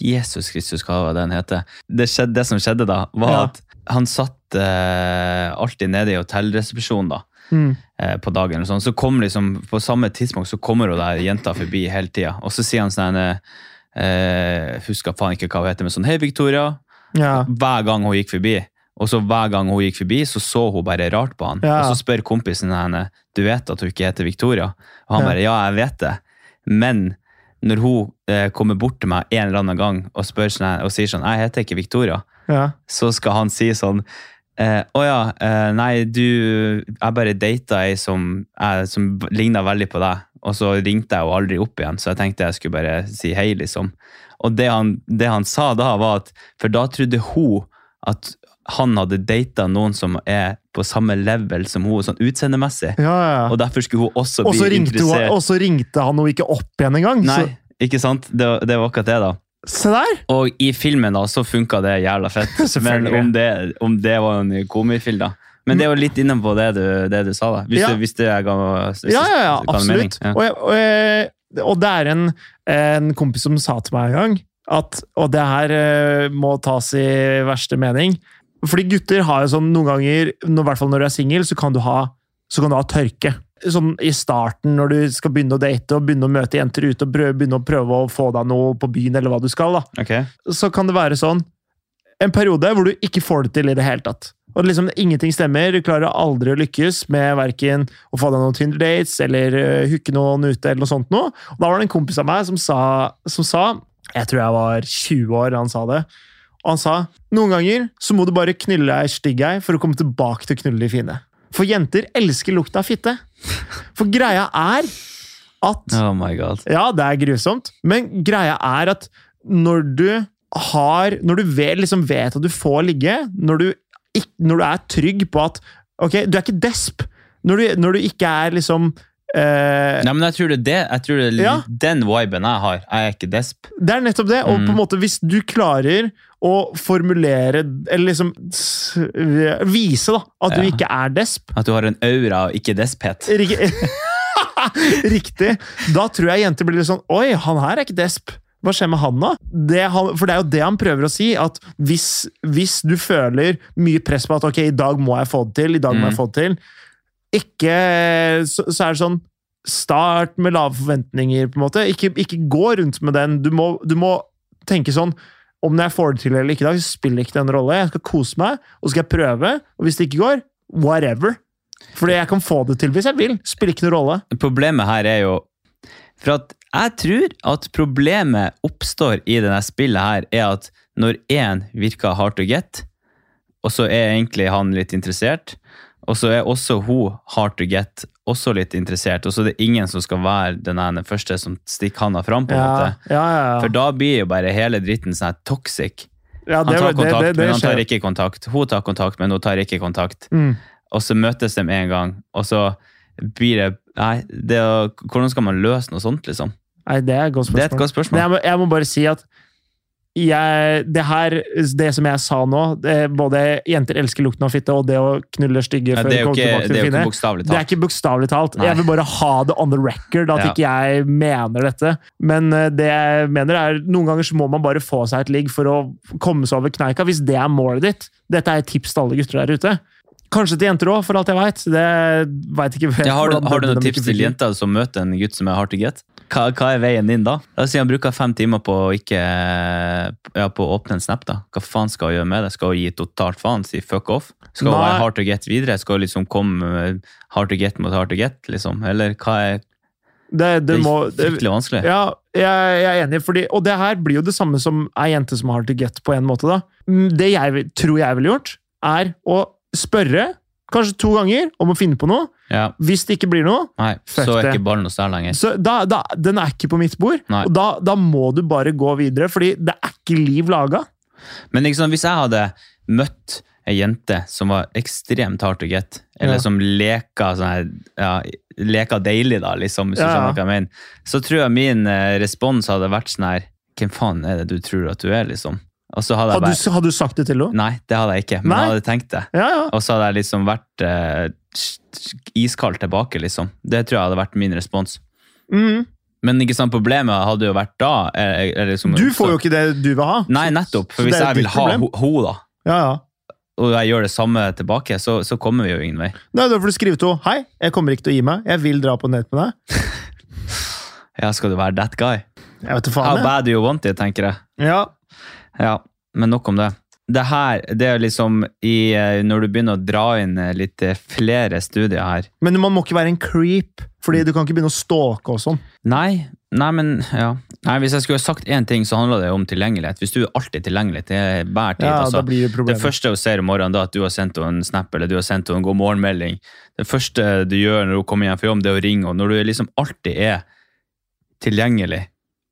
Jesus Kristus, hva var det den heter? Det, skjedde, det som skjedde da, var
Ja.
at han satt eh, alltid nede i hotellresepsjonen da,
Mm.
eh, på dagen. eller sånn. Så kommer liksom, på samme tidspunkt så kommer hun der jenta forbi hele tida, og så sier han sånn eh, eh, Husker faen ikke hva hun heter, men sånn Hei, Victoria.
Ja.
Hver gang hun gikk forbi. Og så hver gang hun gikk forbi, så så hun bare rart på han.
Ja.
Og så spør kompisen henne du vet at hun ikke heter Victoria. Og han
Ja.
bare ja, jeg vet det. Men når hun eh, kommer bort til meg en eller annen gang og, spør sånn, her- og sier sånn jeg heter ikke Victoria,
ja.
så skal han si sånn eh, Å ja, eh, nei, du Jeg bare data ei som, jeg- som ligna veldig på deg, og så ringte jeg jo aldri opp igjen, så jeg tenkte jeg skulle bare si hei, liksom. Og det han, det han sa da, var at For da trodde hun at han hadde data noen som er på samme level som hun, sånn utseendemessig.
ja, ja.
Og derfor skulle hun også
Og så
bli
ringte, hun-
interessert.
og så ringte han henne ikke opp igjen engang. Så,
Nei, ikke sant? Det, var- det var akkurat det, da.
se der!
Og i filmen da, så funka det jævla fett. Men
Selvfølgelig.
om det, om det var en komifil, da. Men det er jo litt inne på det du, det du sa, da. Hvis,
Ja.
det, hvis det jeg ga hvis
Ja, ja, ja,
det ga en mening.
absolutt.
Ja.
Og, jeg, og, jeg, og det er en, en kompis som sa til meg en gang at Og det her eh, må tas i verste mening. Fordi gutter har jo sånn noen ganger, når, i hvert fall når du er singel, så, kan du ha- så kan du ha tørke. Sånn i starten, når du skal begynne å date og begynne å møte jenter ute og prøve, begynne å prøve å få deg noe på byen, eller hva du skal, da.
Ok.
så kan det være sånn en periode hvor du ikke får det til i det hele tatt. Og liksom ingenting stemmer, du klarer aldri å lykkes med verken å få deg noen Tinder-dates eller eh, hooke noen ute eller noe sånt noe. Og da var det en kompis av meg som sa, som sa Jeg tror jeg var 20 år da han sa det. Og han sa noen ganger så må du bare knulle ei stygg ei for å komme tilbake til å knulle de fine. For jenter elsker lukta av fitte. For greia er at
Oh my god.
ja, det er grusomt. Men greia er at når du har Når du vet, liksom vet at du får ligge, når du, ikk- når du er trygg på at Ok, du er ikke desp. Når du, når du ikke er liksom eh,
Nei, men jeg tror det er det. Jeg tror det er litt-
Ja.
den viben jeg har. Jeg er ikke desp.
Det er nettopp det. Og på
Mm.
en måte, hvis du klarer å formulere Eller liksom s- vise da, at du
Ja.
ikke er desp,
At du har en aura av ikke desphet.
Rik- Riktig. Da tror jeg jenter blir litt sånn Oi, han her er ikke desp. Hva skjer med han, da? Det han, for det er jo det han prøver å si. At hvis, hvis du føler mye press på at ok, i dag må jeg få det til, i dag må
Mm.
jeg få det til Ikke Så, så er det sånn Start med lave forventninger, på en måte. Ikke, ikke gå rundt med den. Du må, du må tenke sånn om jeg får det til eller ikke i dag, så spiller ikke det en rolle. Jeg skal kose meg, og så skal jeg prøve. Og hvis det ikke går, whatever. Fordi jeg kan få det til hvis jeg vil. Spiller ikke noen rolle.
Problemet her er jo For at jeg tror at problemet oppstår i denne spillet her, er at når én virker hard to get, og så er egentlig han litt interessert, og så er også hun hard to get også litt interessert, og så er det ingen som skal være den ene første som stikker handa fram, på en
Ja,
måte.
ja, ja.
For da blir jo bare hele dritten sånn her toxic.
ja
Han tar
det- det-
kontakt,
det- det
men han
skjer.
tar ikke kontakt. Hun tar kontakt, men hun tar ikke kontakt
Mm.
og så møtes de en gang, og så blir det Nei, det, å- hvordan skal man løse noe sånt, liksom?
Nei, det er et godt spørsmål.
Det er et godt
Men
spørsmål.
jeg, må, jeg må bare si at jeg, det her, det som jeg sa nå, det, både jenter elsker lukten av fitte og det å knulle stygge
Ja, det
før
er
de
jo
kommer
ikke,
tilbake til
det er
det
jo
fine.
ikke bokstavelig
Det er
talt.
ikke bokstavelig talt.
Nei.
Jeg vil bare ha det on the record, at
Ja.
ikke jeg mener dette. Men eh, det jeg mener er, noen ganger så må man bare få seg et ligg for å komme seg over kneika, hvis det er målet ditt. Dette er et tips til alle gutter der ute. Kanskje til jenter òg, for alt jeg veit. Det vet ikke
Ja, har, du, har du
hvordan dømmer
noen
dem
tips
ikke
til
fikk.
jenter som møter en gutt som er hard to get? Hva, hva er veien din da? La oss si han bruker fem timer på å ikke ja, på å åpne en snap. da. Hva faen skal hun gjøre med det? Skal hun gi totalt faen? Si fuck off? Skal hun
Nei.
være hard to get videre? Skal hun liksom komme eh, hard to get mot hard to get? liksom? Eller hva er
Det,
Det
det
er
må, det,
fryktelig vanskelig.
Ja, jeg, jeg er enig. Fordi, og det her blir jo det samme som ei jente som har to get, på en måte. da. Mm, Det jeg vil- tror jeg ville gjort, er å spørre, kanskje to ganger, om å finne på noe.
Ja.
Hvis det ikke blir noe,
Nei,
Fuck
så er
det.
ikke ballen hos deg lenger.
så da, da, den er ikke på mitt bord.
Nei.
Og da, da må du bare gå videre, fordi det er ikke liv laga.
Men ikke sant, hvis jeg hadde møtt ei jente som var ekstremt hard to get, eller
Ja.
som leka sånn her ja, Leka deilig, da, liksom, hvis du
Ja, ja.
skjønner hva jeg mener, så tror jeg min eh, respons hadde vært sånn her Hvem faen er det du tror at du er, liksom? Og så hadde jeg
Har,
bare
du- har du sagt det til henne?
Nei, det hadde jeg ikke, men
Nei?
jeg hadde tenkt det.
Ja, ja.
Og så hadde jeg liksom vært eh, iskald tilbake, liksom. Det tror jeg hadde vært min respons.
Mm.
Men ikke sant, problemet hadde jo vært da eh, eller liksom,
Du får jo ikke det du vil ha.
Nei, nettopp.
Så
For
det
hvis
er
jeg
ditt
vil ha
problem.
henne, da,
Ja, ja.
og jeg gjør det samme tilbake, så, så kommer vi jo ingen vei.
Nei, Da får du skrive til henne. 'Hei, jeg kommer ikke til å gi meg. Jeg vil dra på nett med deg.'
Ja, skal du være that guy?
Jeg vet da
How
faen. jeg.
bad do you want it, tenker jeg.
Ja.
Ja, men nok om det. Det her, det er liksom i, eh, når du begynner å dra inn eh, litt eh, flere studier her.
Men man må ikke være en creep, fordi du kan ikke begynne å stalke og sånn.
Nei, nei, men ja. Nei, hvis jeg skulle ha sagt én ting, så handler det om tilgjengelighet. Hvis du er alltid tilgjengelig til hver tid,
Ja, da
altså.
blir det
Det
problemer.
første hun ser om morgenen, da, at du har sendt henne en snap eller du har sendt henne en god morgenmelding. Det første du gjør når hun kommer hjem fra jobb, det er å ringe henne. Når du liksom alltid er tilgjengelig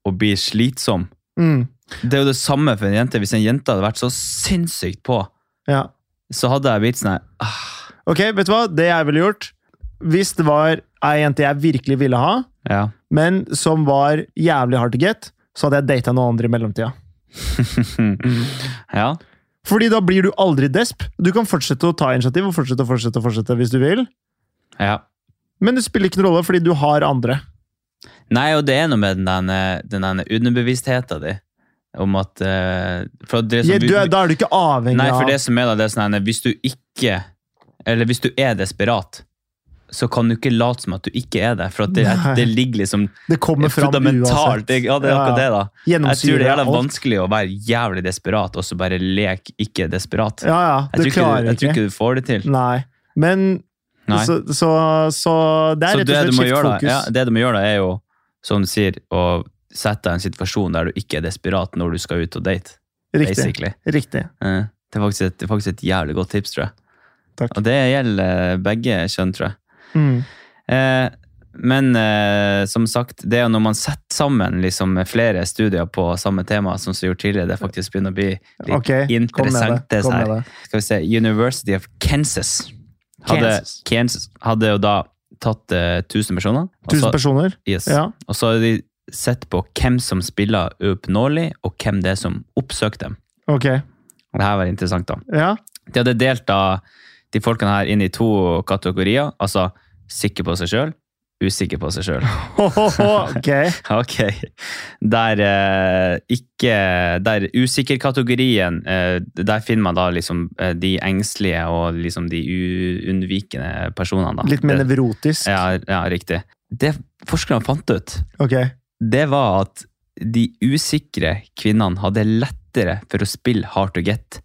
og blir slitsom.
Mm.
Det er jo det samme for en jente. Hvis en jente hadde vært så sinnssykt på,
Ja.
så hadde jeg blitt sånn her ah,
Ok, vet du hva? Det jeg ville gjort Hvis det var ei jente jeg virkelig ville ha,
Ja.
men som var jævlig hard to get, så hadde jeg data noen andre i mellomtida.
ja.
Fordi da blir du aldri desp. Du kan fortsette å ta initiativ og fortsette og fortsette, og fortsette hvis du vil.
Ja.
Men det spiller ikke noen rolle, fordi du har andre.
Nei, og det er noe med den derne- den derne underbevisstheten din. Om at eh, for det som,
Ja, du, er- da er du ikke avhengig
Nei,
av
for det som er da, det er sånn her, Hvis du ikke Eller hvis du er desperat, så kan du ikke late som at du ikke er det. For at det,
Nei.
det ligger liksom
Det kommer fram
fundamentalt
uansett.
det, Ja, det er akkurat det, da. Jeg tror det er
Gjennomsyrer
jævla
alt.
vanskelig å være jævlig desperat, og så bare lek ikke desperat.
Ja, ja.
Jeg
Du
tror, ikke, du-
klarer
jeg tror
ikke.
ikke du får det til.
Nei. Men
Nei.
Så, så, så det er
Så det
rett og slett
du må
skift
gjøre da,
fokus.
ja, det du må gjøre da, er jo, som du sier, å sette deg i en situasjon der du ikke er desperat når du skal ut og date.
Riktig.
basically.
Riktig.
Eh, Det er, faktisk et, det er faktisk et jævlig godt tips, tror jeg.
Takk.
Og det gjelder eh, begge kjønn, tror jeg.
Mm.
Eh, men eh, som sagt, det er jo når man setter sammen liksom, flere studier på samme tema, som vi gjorde tidligere, det faktisk begynner å bli litt
Ok, kom med det.
interessante.
Kom med
her.
det.
Skal vi se, University of Kansas hadde,
Kansas.
Kansas hadde jo da tatt eh, 1000 personer. og så-
1000 personer?
Yes.
Ja.
Og så har de sett på hvem som spiller uoppnåelig, og hvem det er som oppsøker dem.
Ok.
Og Det her var interessant, da.
Ja.
De hadde delt da, de folkene her inn i to kategorier. Altså sikker på seg sjøl, usikker på seg sjøl.
ok.
Ok. Der eh, ikke Der usikker-kategorien, eh, der finner man da liksom eh, de engstelige og liksom de u- unnvikende personene. da.
Litt mer
Det-
nevrotisk.
ja, ja, riktig. Det forskerne fant ut,
Ok.
det var at de usikre kvinnene hadde lettere for å spille hard to get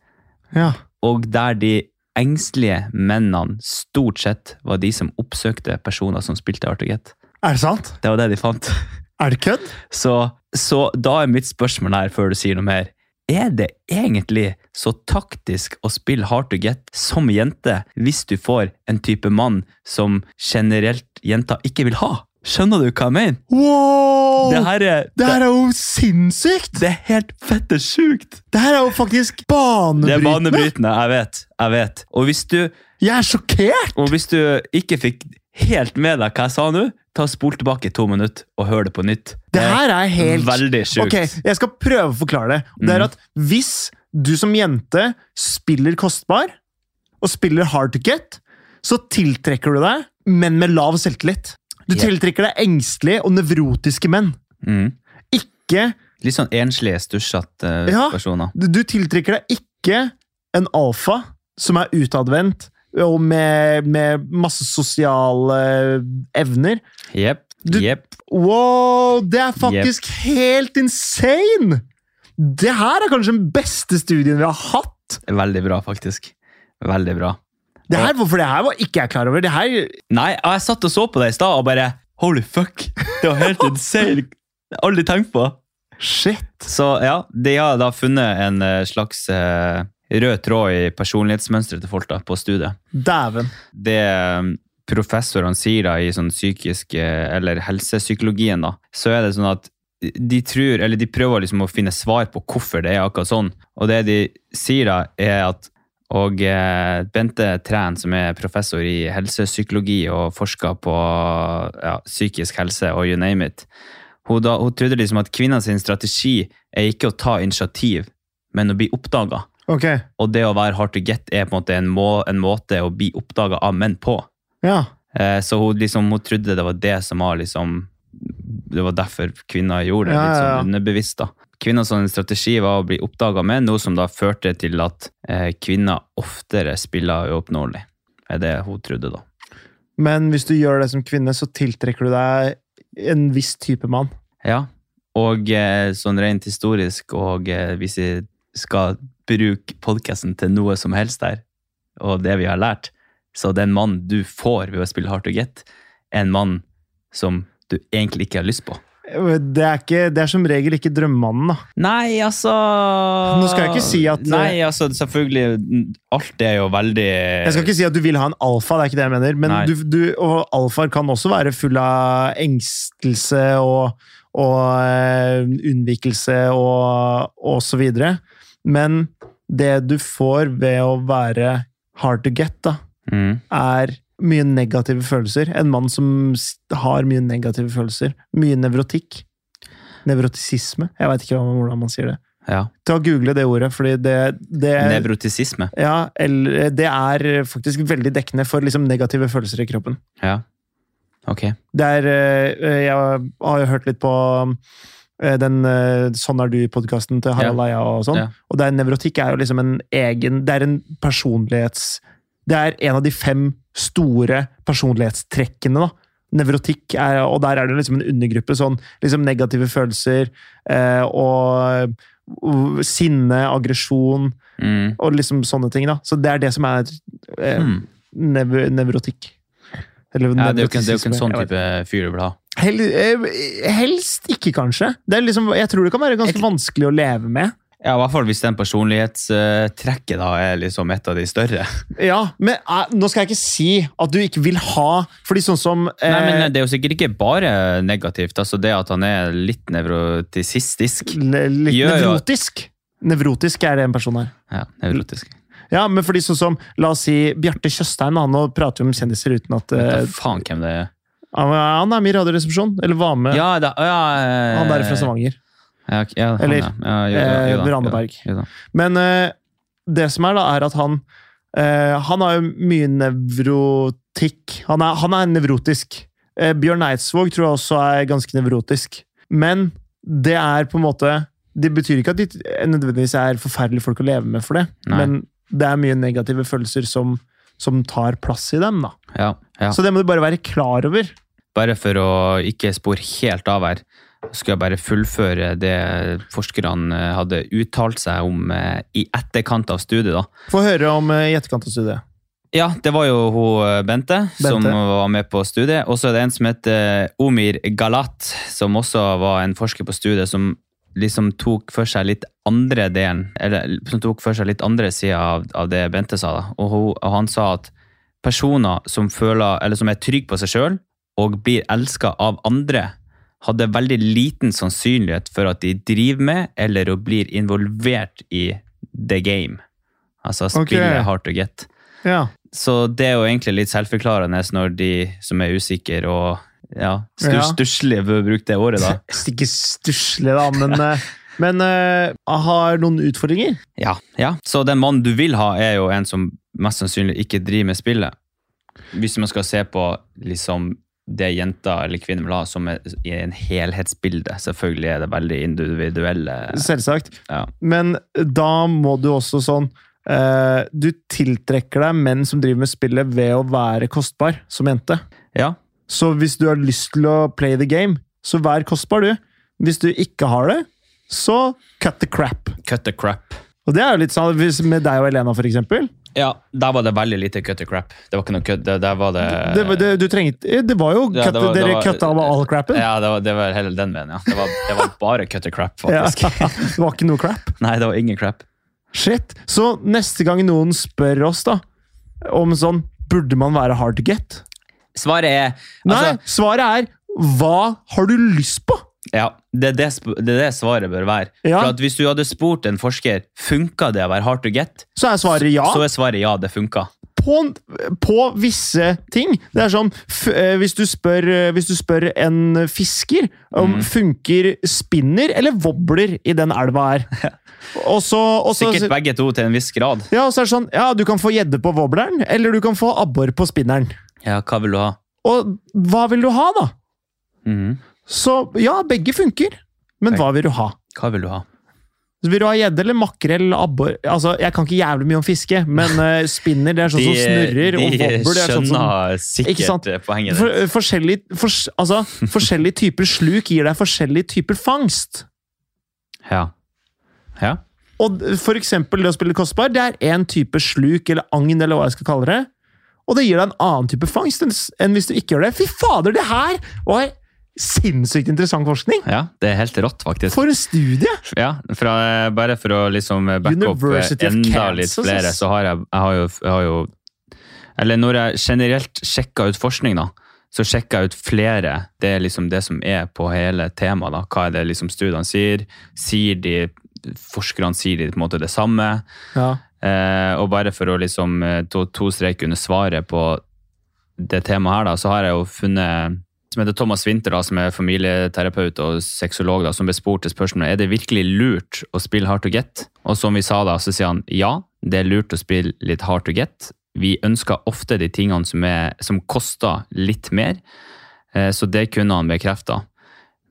Ja.
og der de engstelige mennene stort sett var de som oppsøkte personer som spilte Artiget.
Er det sant?
Det var det de fant.
Er det kødd?
Så, så da er mitt spørsmål her, før du sier noe mer, er det egentlig så taktisk å spille hard to get som jente hvis du får en type mann som generelt jenter ikke vil ha? Skjønner du hva jeg mener?
Wow!
Det her er,
Det
det,
her er jo sinnssykt!
det er helt fette sjukt!
Det her er jo faktisk
Det er
banebrytende!
banebrytende, jeg vet. Jeg vet. Og hvis du
Jeg er sjokkert!
Og hvis du ikke fikk helt med deg hva jeg sa nå, ta spol tilbake to minutter og hør det på nytt.
Det her er
er
helt
veldig sjukt.
Ok, jeg skal prøve å forklare det. Det er
Mhm.
at hvis du som jente spiller kostbar, og spiller hard to get, så tiltrekker du deg menn med lav selvtillit. Du
Ja.
tiltrekker deg engstelige og nevrotiske menn.
Mm.
Ikke,
Litt sånn enslige, stussete eh,
Ja.
personer.
du, du tiltrekker deg ikke en alfa som er utadvendt og med, med masse sosiale evner.
Jepp.
Du-
Jepp.
Wow, det er faktisk helt insane! Det her er kanskje den beste studien vi har hatt.
Veldig bra, faktisk. Veldig bra.
Det her, for det her var ikke jeg klar over. Det her,
Nei, jeg satt og så på deg i stad og bare Holy fuck! Det var helt insane! Det har jeg Aldri tenkt på.
shit.
Så ja, de har da funnet en eh, slags eh, rød tråd i personlighetsmønsteret til folk da, på studiet.
Dæven.
det um, professorene sier da, i sånn psykisk eh, eller helsepsykologien, da, så er det sånn at de tror, eller de prøver liksom å finne svar på hvorfor det er akkurat sånn. Og det de sier da, er at og eh, Bente Træn, som er professor i helsepsykologi og forsker på ja, psykisk helse og you name it, hun, da, hun trodde liksom at kvinnens strategi er ikke å ta initiativ, men å bli oppdaga.
Ok,
Og det å være hard to get er på en måte en, må, en måte å bli oppdaga av menn på.
ja.
Eh, så hun, liksom, hun trodde det var det som var liksom Det var derfor kvinner gjorde det,
Ja,
litt
ja, ja.
sånn underbevisst. da. Kvinners sånn strategi var å bli oppdaga av menn, noe som da førte til at eh, kvinner oftere spiller uoppnåelig. Er det hun trodde, da.
Men hvis du gjør det som kvinne, så tiltrekker du deg en viss type mann.
Ja, Og eh, sånn rent historisk, og eh, hvis vi skal bruke podkasten til noe som helst der, og det vi har lært, så den mannen du får ved å spille Hard to Get, er en mann som du egentlig ikke har lyst på.
Det er, ikke, det er som regel ikke drømmemannen, da.
Nei, altså
Nå skal jeg ikke si at- eh,
Nei, altså, selvfølgelig. Alt er jo veldig
Jeg skal ikke si at du vil ha en alfa, det er ikke det jeg mener. Men
Nei.
du, du, og alfaer kan også være full av engstelse og, og eh, unnvikelse og, og så videre. Men det du får ved å være hard to get, da,
Mm.
er mye negative følelser. En mann som s- har mye negative følelser. Mye nevrotikk. Nevrotisisme. Jeg veit ikke hva- hvordan man sier det.
Ja.
Ta og Google det ordet, fordi det, det
Nevrotisisme.
ja, eller det er faktisk veldig dekkende for liksom negative følelser i kroppen.
Ja. Ok.
Det er eh, Jeg har jo hørt litt på eh, den eh, Sånn er du-podkasten til Harald Eia og sånn.
Ja.
Og det er nevrotikk er jo liksom en egen Det er en personlighets... Det er en av de fem store personlighetstrekkene, da. Nevrotikk er Og der er det liksom en undergruppe. Sånn liksom negative følelser eh, og, og sinne, aggresjon
Mm.
og liksom sånne ting. da. Så det er det som er eh,
Hmm.
nev nevrotikk. Eller
Ja, det er jo ikke, det er jo ikke en
nevrotisisme,
sånn
jeg vet.
type fyr du vil ha.
Hel, eh, helst ikke, kanskje. Det er liksom, jeg tror det kan være ganske vanskelig å leve med.
Ja, i hvert fall hvis den personlighetstrekket da er liksom et av de større.
Ja, Men eh, nå skal jeg ikke si at du ikke vil ha Fordi sånn som eh,
Nei, men Det er jo sikkert ikke bare negativt. altså Det at han er litt nevrotisistisk.
le- Litt
eh, Gjør jo-
nevrotisk. Nevrotisk er det en person her.
Ja, nevrotisk.
Ja, men fordi sånn som, La oss si Bjarte Tjøstheim. Han nå prater jo om kjendiser uten at
Vet
eh,
da faen hvem det er.
han, han er med i Radioresepsjonen. Eller var med.
Ja, da, ja, eh,
Han der fra Stavanger.
Ja, ok, ja, han,
Eller,
ja. Ja, jo da,
eh,
jo da, jo da,
Randaberg.
jo da.
Men eh, det som er, da, er at han eh, Han har jo mye nevrotikk. Han er, han er nevrotisk. Eh, Bjørn Eidsvåg tror jeg også er ganske nevrotisk. Men det er på en måte Det betyr ikke at de nødvendigvis er forferdelige folk å leve med for det,
Nei.
men det er mye negative følelser som, som tar plass i dem. da.
Ja, ja.
Så det må du bare være klar over.
Bare for å ikke spore helt av her, skal jeg bare fullføre det forskerne hadde uttalt seg om eh, i etterkant av studiet. da.
Få høre om eh, i etterkant av studiet.
Ja, det var jo hun eh, Bente, som var med på studiet. Og så er det en som heter eh, Omir Galat, som også var en forsker på studiet, som liksom tok for seg litt andre delen, eller som tok for seg litt andre sida av, av det Bente sa. da. Og, hun, og han sa at personer som føler, eller som er trygge på seg sjøl og blir elska av andre, hadde veldig liten sannsynlighet for at de driver med eller og blir involvert i the game. Altså
Ok.
spille hard to get.
Ja.
Så det er jo egentlig litt selvforklarende når de som er usikre og ja, stu-
Ja.
stusslige bør bruke det året, da.
Ikke stusslig, da, men, eh, men eh, har noen utfordringer.
Ja, ja. Så den mannen du vil ha, er jo en som mest sannsynlig ikke driver med spillet. Hvis man skal se på liksom det jenter eller kvinner vil ha som er i en helhetsbilde. Selvfølgelig er det veldig individuelle
Selvsagt.
ja.
Men da må du også sånn eh, Du tiltrekker deg menn som driver med spillet ved å være kostbar som jente.
ja.
Så hvis du har lyst til å play the game, så vær kostbar, du. Hvis du ikke har det, så cut the crap.
Cut the crap.
Og det er jo litt sånn hvis- med deg og Elena, for eksempel.
Ja, der var det veldig lite cut the crap. Det var ikke noe kødd. Der- Der var det
Det, var- det, du trengte, det var jo
Eh. Ja,
cut,
det var- det
Dere
var-
cutta av all crapen.
Ja, det var, det var heller den veien, ja. Det var, det var bare cut the crap,
Ja.
faktisk.
det var ikke noe crap.
Nei, det var ingen crap.
Shit. Så neste gang noen spør oss da, om sånn Burde man være hard to get?
Svaret er
Nei,
altså,
svaret er hva har du lyst på?
ja, det, er det, sp- det er det svaret bør være.
Ja.
For at Hvis du hadde spurt en forsker funka det å være hard to get,
Så er svaret ja
så er svaret ja, det funka.
på, på visse ting. Det er sånn f eh, hvis, du spør, eh, hvis du spør en fisker
Mm.
om funker spinner eller wobbler i den elva her. Og så, og så
Sikkert begge to til en viss grad.
ja, og så er det sånn Ja, du kan få gjedde på wobbleren, eller du kan få abbor på spinneren.
Ja, hva vil du ha?
Og hva vil du ha, da?
Mhm.
Så ja, begge funker. Men hva vil du ha?
Hva vil du ha?
Så vil du ha gjedde eller makrell eller abbor? Altså, jeg kan ikke jævlig mye om fiske, men eh, spinner det er sånn som snurrer, og wobber det er sånn som
skjønner
Ikke sant?
sikkert eh, poenget
for,
ditt.
forskjellig, fors- altså, forskjellige typer sluk gir deg forskjellige typer fangst.
Ja. ja.
Og d- for eksempel det å spille kostbar, det er én type sluk eller agn, eller hva jeg skal kalle det. Og det gir deg en annen type fangst enn s- enn hvis du ikke gjør det. Fy fader, det her var sinnssykt interessant forskning!
Ja, det er helt rått, faktisk.
For en studie!
Ja, fra, bare for å liksom backe opp
University
eh,
of
enda
Kansas,
litt flere,
ass.
så har jeg, jeg, har jo, jeg har jo Eller når jeg generelt sjekker ut forskning, da, så sjekker jeg ut flere. Det er liksom det som er på hele temaet. da. Hva er det liksom studiene sier? Sier de Forskerne sier de på en måte det samme.
Ja.
Eh, og bare for å liksom eh, to, to strek under svaret på det temaet her, da, så har jeg jo funnet som heter Thomas Winther, da, som er familieterapeut og sexolog, da, som ble spurt til spørsmålet er det virkelig lurt å spille hard to get. Og som vi sa da, så sier han ja, det er lurt å spille litt hard to get. Vi ønsker ofte de tingene som, er, som koster litt mer, eh, så det kunne han bekrefte.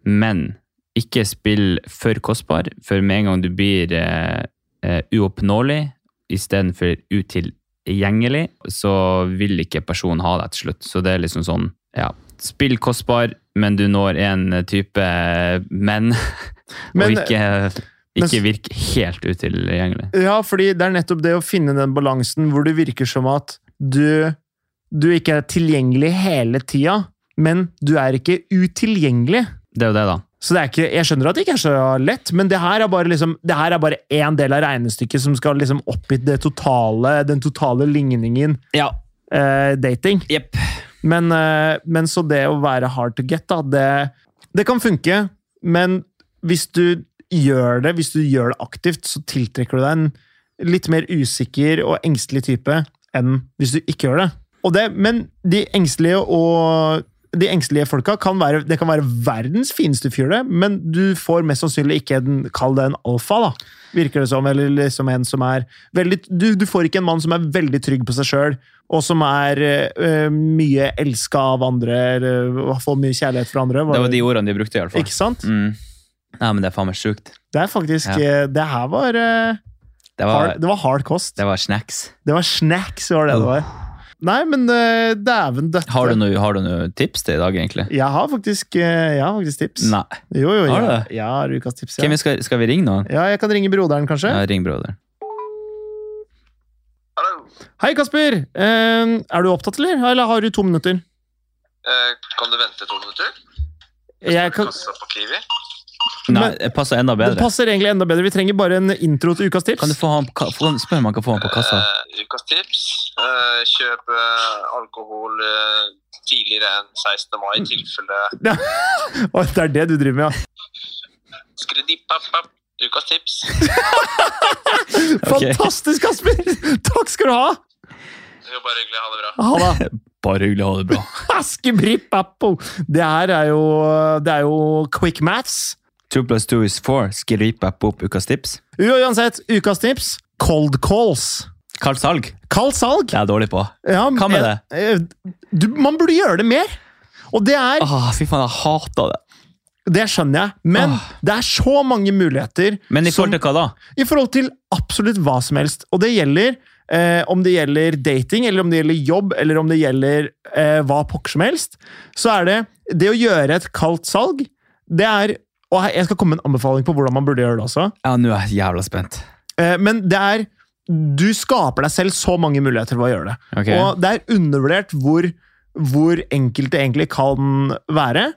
Men ikke spill for kostbar, for med en gang du blir eh, eh, uoppnåelig istedenfor utilgjengelig, så vil ikke personen ha deg til slutt. Så det er liksom sånn, ja. Spill kostbar, men du når en type eh, menn,
Men- eh,
og ikke,
men-
ikke virk helt utilgjengelig.
Ja, fordi det er nettopp det å finne den balansen hvor det virker som at du, du ikke er tilgjengelig hele tida, men du er ikke utilgjengelig.
Det er jo det, da.
Så det er ikke, Jeg skjønner at det ikke er så lett, men det her er bare liksom, det her er bare én del av regnestykket som skal liksom oppgi det totale, den totale ligningen
Ja.
eh, dating.
Jepp.
Men, eh, men så det å være hard to get, da, det, det kan funke. Men hvis du gjør det, hvis du gjør det aktivt, så tiltrekker du deg en litt mer usikker og engstelig type enn hvis du ikke gjør det. Og det men de engstelige og de engstelige folka kan være, det kan være verdens fineste fyr, det, men du får mest sannsynlig ikke en Kall det en alfa, da. Virker det som. Eller liksom en som er veldig Du, du får ikke en mann som er veldig trygg på seg sjøl, og som er eh, mye elska av andre, eller får mye kjærlighet fra andre.
Det var de ordene de brukte, i hvert fall.
Ikke sant?
Mm. Nei, men det er faen meg sjukt.
Det er faktisk
Ja.
eh, Det her var, eh,
Det var,
hard, Det var hard kost.
det var snacks.
Det var snacks, var det det var. Nei, men eh, dæven døtte.
Har du noe, har du noe tips til i dag, egentlig?
Jeg har faktisk, eh, jeg har faktisk tips.
Nei.
Jo, jo,
Har du
jeg,
det?
jeg har ukas tips. Ja.
Hvem vi skal, skal vi ringe noen?
ja, jeg kan ringe broderen, kanskje.
Ja, ring broder.
Hallo.
Hei, Kasper! Eh, er du opptatt, eller? Eller har du to minutter?
Eh, kan du vente to minutter?
Jeg kan,
Kassa på Kiwi.
Nei,
Men-
det passer enda
det
bedre.
passer egentlig enda bedre. Vi trenger bare en intro til ukas tips.
Kan du få han, ka- få, spør om han kan få han på kassa?
Eh, ukas tips. Eh, kjøp eh, alkohol eh, tidligere enn 16. mai i tilfelle
Å, det er det du driver med, ja.
Skridipapap. Ukas tips.
Ok.
Fantastisk, Kasper! Takk skal du ha!
Det er bare hyggelig. Ha det bra.
Ha det.
Bare hyggelig å ha det bra.
Askebripp-appo! Det her er jo, det er jo quick maths.
Two plus two is four. Skripa pop ukas tips.
Uansett, ukas tips cold calls.
Kaldt salg.
Kaldt salg.
Det er jeg dårlig på.
Ja,
Hva med det?
eh, Du, man burde gjøre det mer. Og det er
Åh, Ah, fy faen, jeg hater det.
Det skjønner jeg, men
Ah.
det er så mange muligheter
Men i
som-
forhold til hva da?
i forhold til absolutt hva som helst. Og det gjelder eh, om det gjelder dating, eller om det gjelder jobb, eller om det gjelder eh, hva pokker som helst. Så er det det å gjøre et kaldt salg. Det er Og her- jeg skal komme med en anbefaling på hvordan man burde gjøre det også.
Ja, nå er jeg jævla spent.
Eh, men det er Du skaper deg selv så mange muligheter ved å gjøre det.
Ok.
Og det er undervurdert hvor, hvor enkelt det egentlig kan være.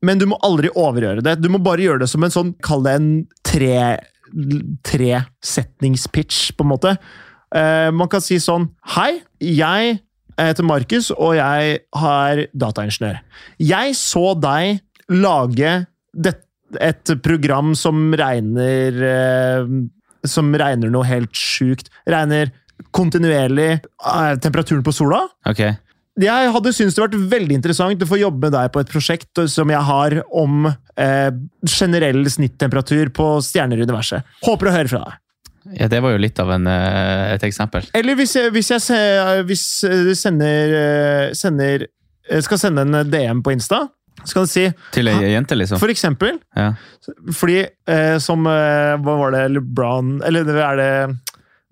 Men du må aldri overgjøre det. Du må bare gjøre det som en sånn, kall det en tre, tre setningspitch, på en måte. Eh, man kan si sånn Hei, jeg heter Markus, og jeg er dataingeniør. Jeg så deg lage det, et program som regner eh, Som regner noe helt sjukt. Regner kontinuerlig eh, temperaturen på sola.
Ok.
Jeg hadde syntes det vært veldig interessant å få jobbe med deg på et prosjekt som jeg har om eh, generell snittemperatur på stjerner i universet. Håper å høre fra deg.
Ja, det var jo litt av en, eh, et eksempel.
Eller hvis jeg, hvis jeg se- hvis eh, du sender, eh, sender eh, skal sende en DM på Insta, Så kan du si
Til ei jente, liksom.
For eksempel
Ja.
Fordi eh, som eh, Hva var det LeBron Eller det er det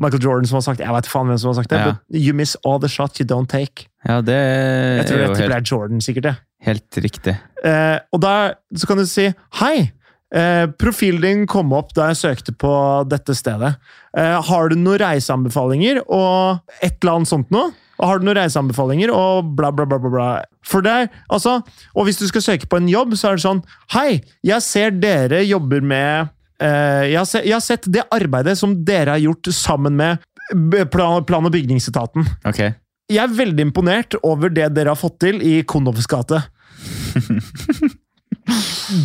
Michael Jordan som har sagt Jeg vet faen hvem som har sagt det.
Ja.
But you miss all the shots you don't take.
ja, det
Jeg tror
er
det
jo
tipper det
helt,
er Jordan, sikkert. det.
helt riktig.
Eh, og da så kan du si Hei! Eh, profilen din kom opp da jeg søkte på dette stedet. Eh, har du noen reiseanbefalinger og et eller annet sånt noe? Og har du noen reiseanbefalinger og bla, bla, bla, bla, bla. For der, altså, og hvis du skal søke på en jobb, så er det sånn Hei, jeg ser dere jobber med eh, jeg, har se, jeg har sett det arbeidet som dere har gjort sammen med b- plan, plan- og bygningsetaten.
Ok.
Jeg er veldig imponert over det dere har fått til i Konovs gate.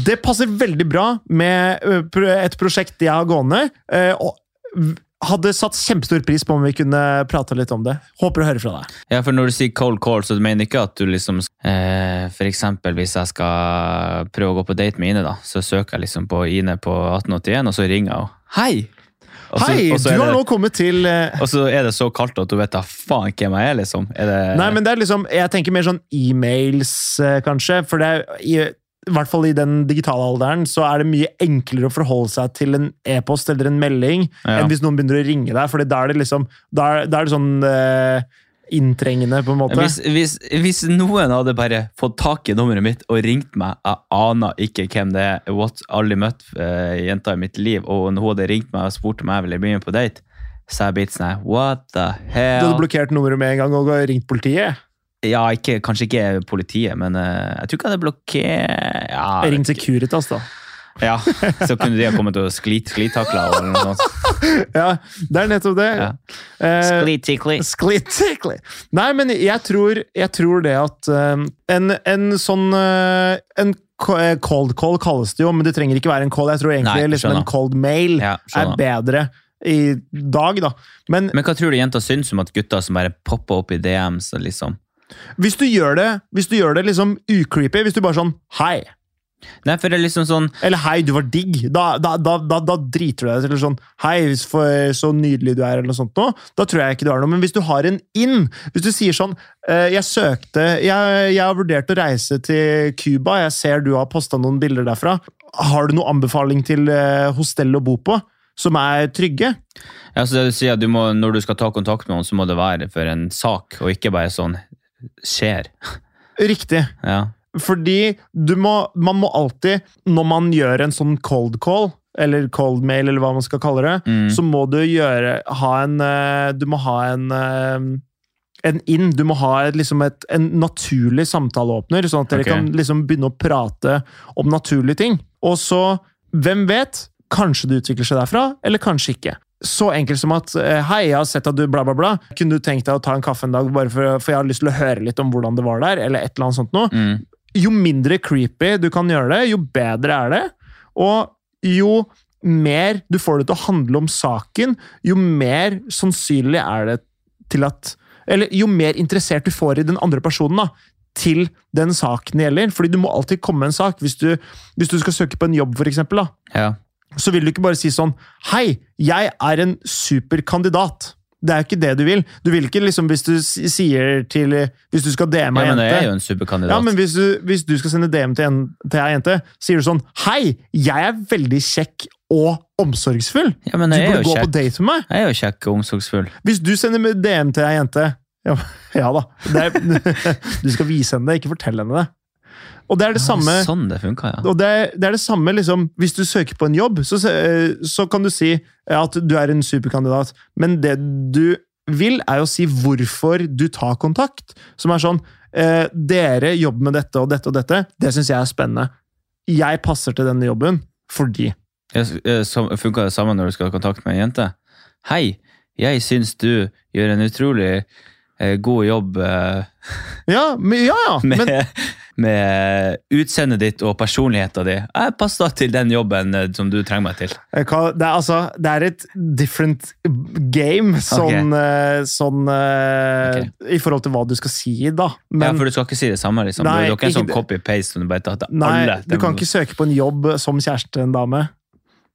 det passer veldig bra med ø, pro- et prosjekt jeg har gående. ø, og v- Hadde satt kjempestor pris på om vi kunne prata litt om det. Håper å høre fra deg.
Ja, for når du sier cold call, så du mener ikke at du liksom eh, For eksempel hvis jeg skal prøve å gå på date med Ine, da, så søker jeg liksom på Ine på 1881, og så ringer jeg henne. Hei! Og så-
Hei,
og så
du
er
har
det-
nå kommet til ø,
Og så er det så kaldt at du vet da faen ikke hvem jeg er, liksom. Er det,
Nei, men det er liksom Jeg tenker mer sånn e-mails, ø, kanskje. For det er i, i hvert fall i den digitale alderen så er det mye enklere å forholde seg til en e-post eller en melding
ja.
enn hvis noen begynner å ringe deg. Fordi da er det liksom Da er, da er det sånn eh, inntrengende, på en måte.
hvis, hvis, hvis noen hadde bare fått tak i nummeret mitt og ringt meg Jeg aner ikke hvem det er. What, aldri møtt eh, jenta i mitt liv, og når hun hadde ringt meg og spurt om jeg ville bli med på date, så jeg blitt sånn her, What the
Du hadde
hell?
blokkert nummeret med en gang og ringt politiet.
Ja, ikke, kanskje ikke politiet, men eh, jeg tror ikke jeg hadde blokkert ja,
Ringt Securitas, da.
ja, Så kunne de ha kommet og sklit, sklitakla eller noe sånt.
Ja, det er nettopp det.
Ja.
Eh,
Sklitikli.
Sklitikli. Nei, men jeg tror, jeg tror det at eh, en, en sånn eh, En ko- eh, cold call kalles det jo, men det trenger ikke være en call. Jeg tror
Nei,
egentlig
jeg
liksom en
skjønner.
cold mail
Ja,
er
skjønner.
bedre i dag, da. Men
Men hva tror du jenta syns om at gutter som bare popper opp i DMs og liksom
hvis du gjør det Hvis du gjør det liksom ucreepy, hvis du bare sånn Hei.
Nei, for det er liksom sånn
Eller 'hei, du var digg'. Da, da, da, da, da driter du deg ut. Eller sånn 'hei, for, så nydelig du er', eller noe sånt. Nå, da tror jeg ikke du har noe. Men hvis du har en inn Hvis du sier sånn eh, 'jeg søkte jeg, jeg har vurdert å reise til Cuba, jeg ser du har posta noen bilder derfra'. Har du noen anbefaling til eh, hostell å bo på som er trygge?
ja, så det du sier, at du må, Når du skal ta kontakt med noen, så må det være for en sak, og ikke bare sånn skjer.
Riktig.
Ja.
Fordi du må, man må alltid, når man gjør en sånn cold call, eller cold mail, eller hva man skal kalle det,
Mm.
så må du gjøre ha en, eh, Du må ha en eh, en inn. Du må ha et, liksom et, en naturlig samtaleåpner, sånn at dere
Ok.
kan liksom begynne å prate om naturlige ting. Og så, hvem vet? Kanskje det utvikler seg derfra, eller kanskje ikke. Så enkelt som at eh, 'hei, jeg har sett at du bla, bla, bla'. Kunne du tenkt deg å ta en kaffe en dag, bare for, for jeg har lyst til å høre litt om hvordan det var der? eller et eller annet sånt noe
Mm.
jo mindre creepy du kan gjøre det, jo bedre er det. Og jo mer du får det til å handle om saken, jo mer sannsynlig er det til at Eller jo mer interessert du får i den andre personen, da, til den saken det gjelder. Fordi du må alltid komme med en sak. Hvis du, hvis du skal søke på en jobb, for eksempel, da,
ja.
så vil du ikke bare si sånn Hei, jeg er en superkandidat. Det er jo ikke det du vil. Du vil ikke liksom, hvis du s- sier til Hvis du skal DM
ja,
ei
men jeg
jente
er jo en superkandidat.
ja, men hvis du, hvis du skal sende DM til en, til ei jente, sier du sånn Hei, jeg er veldig kjekk og omsorgsfull. Du
jeg er jo
burde gå på
kjekk.
date med meg.
Jeg er jo kjekk og omsorgsfull.
Hvis du sender med DM til ei jente Ja, ja da. Det er, du skal vise henne det, ikke fortelle henne det. Og det er det samme
Sånn det funka, ja.
og det, er- det er det samme, liksom, hvis du søker på en jobb, så, se- så kan du si at du er en superkandidat, men det du vil, er å si hvorfor du tar kontakt. Som er sånn eh, Dere jobber med dette og dette og dette. Det syns jeg er spennende. Jeg passer til denne jobben fordi
Ja, s- eh, sam- Funker det samme når du skal ha kontakt med ei jente? Hei, jeg syns du gjør en utrolig eh, god jobb eh,
Ja, men, ja, ja!
med,
Men,
med utseendet ditt og personligheten din. Jeg passer til den jobben eh, som du trenger meg til.
eh, hva- det, er, altså, det er et different game sånn, eh, sånn eh, I forhold til hva du skal si, da.
ja, for du skal ikke si det samme, liksom.
Nei,
du, du er ikke en
ikke
sånn
det.
copy-paste som du bare tar til
Nei,
alle.
du kan ikke søke på en jobb som kjæreste til en dame.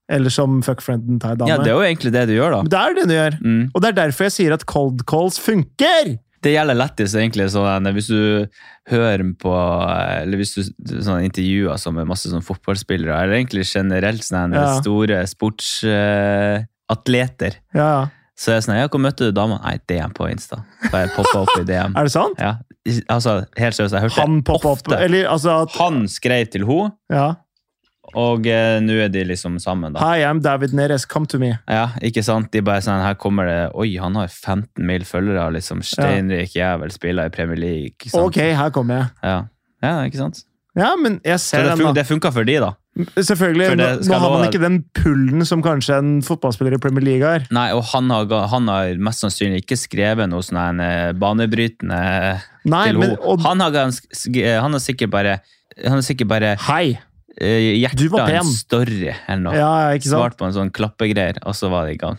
Eller som fuckfrienden til en dame.
Ja, det er jo egentlig det du gjør, da.
Men det er jo det du gjør.
Mm.
Og det er derfor jeg sier at cold calls funker!
Det gjelder lettis, egentlig. Sånn, eh, hvis du hører på eh, eller hvis du sånn, intervjuer som er masse sånn, fotballspillere, eller egentlig generelt sånn,
Ja.
store sportsatleter,
Ja.
så er det sånn ja, 'Hvor møtte du dama?' Nei, DM på Insta. Bare poppa opp i DM.
Er det sant?
Ja, i- altså, helt seriøst, jeg hørte
Han poppa opp
ofte.
Eller altså at
Han skrev til henne,
ja.
og eh, nå er de liksom sammen, da.
Hi, I'm David Neres. Come to me.
Ja, ikke sant? De bare sånn, her kommer det Oi, han har 15 mil følgere, liksom. Steinrik jævel spiller i Premier League. Ikke sant?
Ok, her kommer jeg.
Ja. ja, ikke sant?
Ja, men jeg
Så
ser
det,
den,
fun
da.
det funka for de, da.
Selvfølgelig.
For
Nå,
det skal
nå har
love
man
deg.
ikke den pullen som kanskje en fotballspiller i Premier League har.
Nei, og han har, ga- han har mest sannsynlig ikke skrevet noe sånn her, eh, banebrytende
Nei,
til
men
henne.
og,
Han, har ganske- sk- eh, han har sikkert bare han har sikkert bare
Hei!
eh,
Du
hjertet
var pen.
en story eller noe.
Ja, ikke sant?
Svart på en sånn klappegreier, og så var det i gang.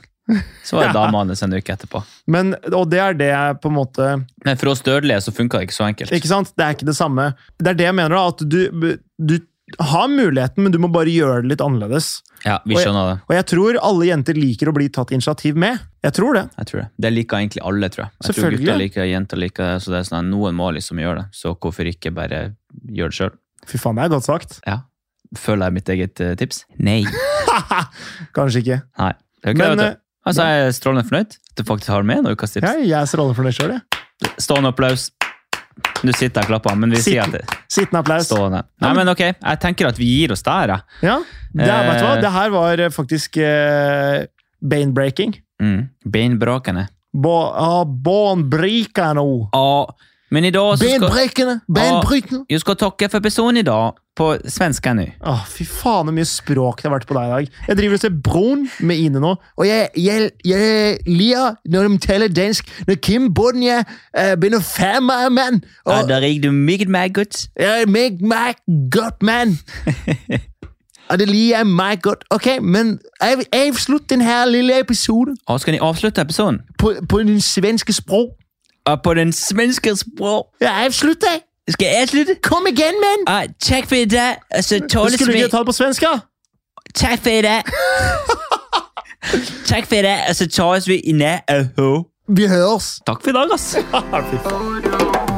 Så var det
Ja.
dama hans en uke etterpå.
Men, og det er det jeg på en måte
Men for oss dødelige så funka det ikke så enkelt.
Ikke sant? Det er ikke det samme. Det er det jeg mener, da. At du, du har muligheten, men du må bare gjøre det litt annerledes.
Ja, Vi
Og jeg-
skjønner det.
Og jeg tror alle jenter liker å bli tatt initiativ med. Jeg tror det.
Jeg tror det. Det liker egentlig alle, tror jeg. Jeg tror
Selvfølgelig.
gutter liker det, jenter liker det. Så det er sånn at noen må liksom gjøre det. Så hvorfor ikke bare gjøre det sjøl?
Fy faen, det er godt sagt.
Ja. Følger jeg mitt eget eh, tips? Nei.
Kanskje ikke.
Nei. Det er ikke
Men
det,
eh,
vet du. Altså, jeg er strålende fornøyd at du faktisk har med en ukas tips.
ja, jeg er strålende fornøyd sjøl, jeg.
Stående applaus. Nå sitter jeg og klapper, men vi sier at det
Sittende applaus.
stående. Nei, men ok. Jeg tenker at vi gir oss der, jeg.
Ja, det, er- vet du hva?
Eh.
det her var eh, faktisk eh, bane-breaking.
Mm. Beinbrakende.
Bo, ah, Bane-breakende.
Ja, Men i dag så skal Ah.
Bane-breakende! Bane-breakende!
Jeg skal takke for personen i dag på svenska nå.
Åh, fy faen, så mye språk det har vært på deg i dag. Jeg driver og ser Broen med Ine nå, og jeg, jeg, jeg ler når de taler dansk. Når Kim Bonje eh, begynner å famme meg, mann!
Ja,
Og
der gikk du meget, meget godt.
jeg meg meg godt, mann! Og det liker jeg meg godt. Ok, men jeg vil avslutte denne lille episoden
Og skal ni avslutte episoden?
på, på den svenske språk.
Og på den svenske språk
Jeg avslutter!
skal jeg slutte.
Kom igjen, mann!
Ah, takk for i dag. Og så tåles vi.
ta det på svensk? da?
Takk for i dag. takk for i Altså, dag. Og så tåles vi i nær.
Vi høres!
Takk for i dag, ass.
Fy faen.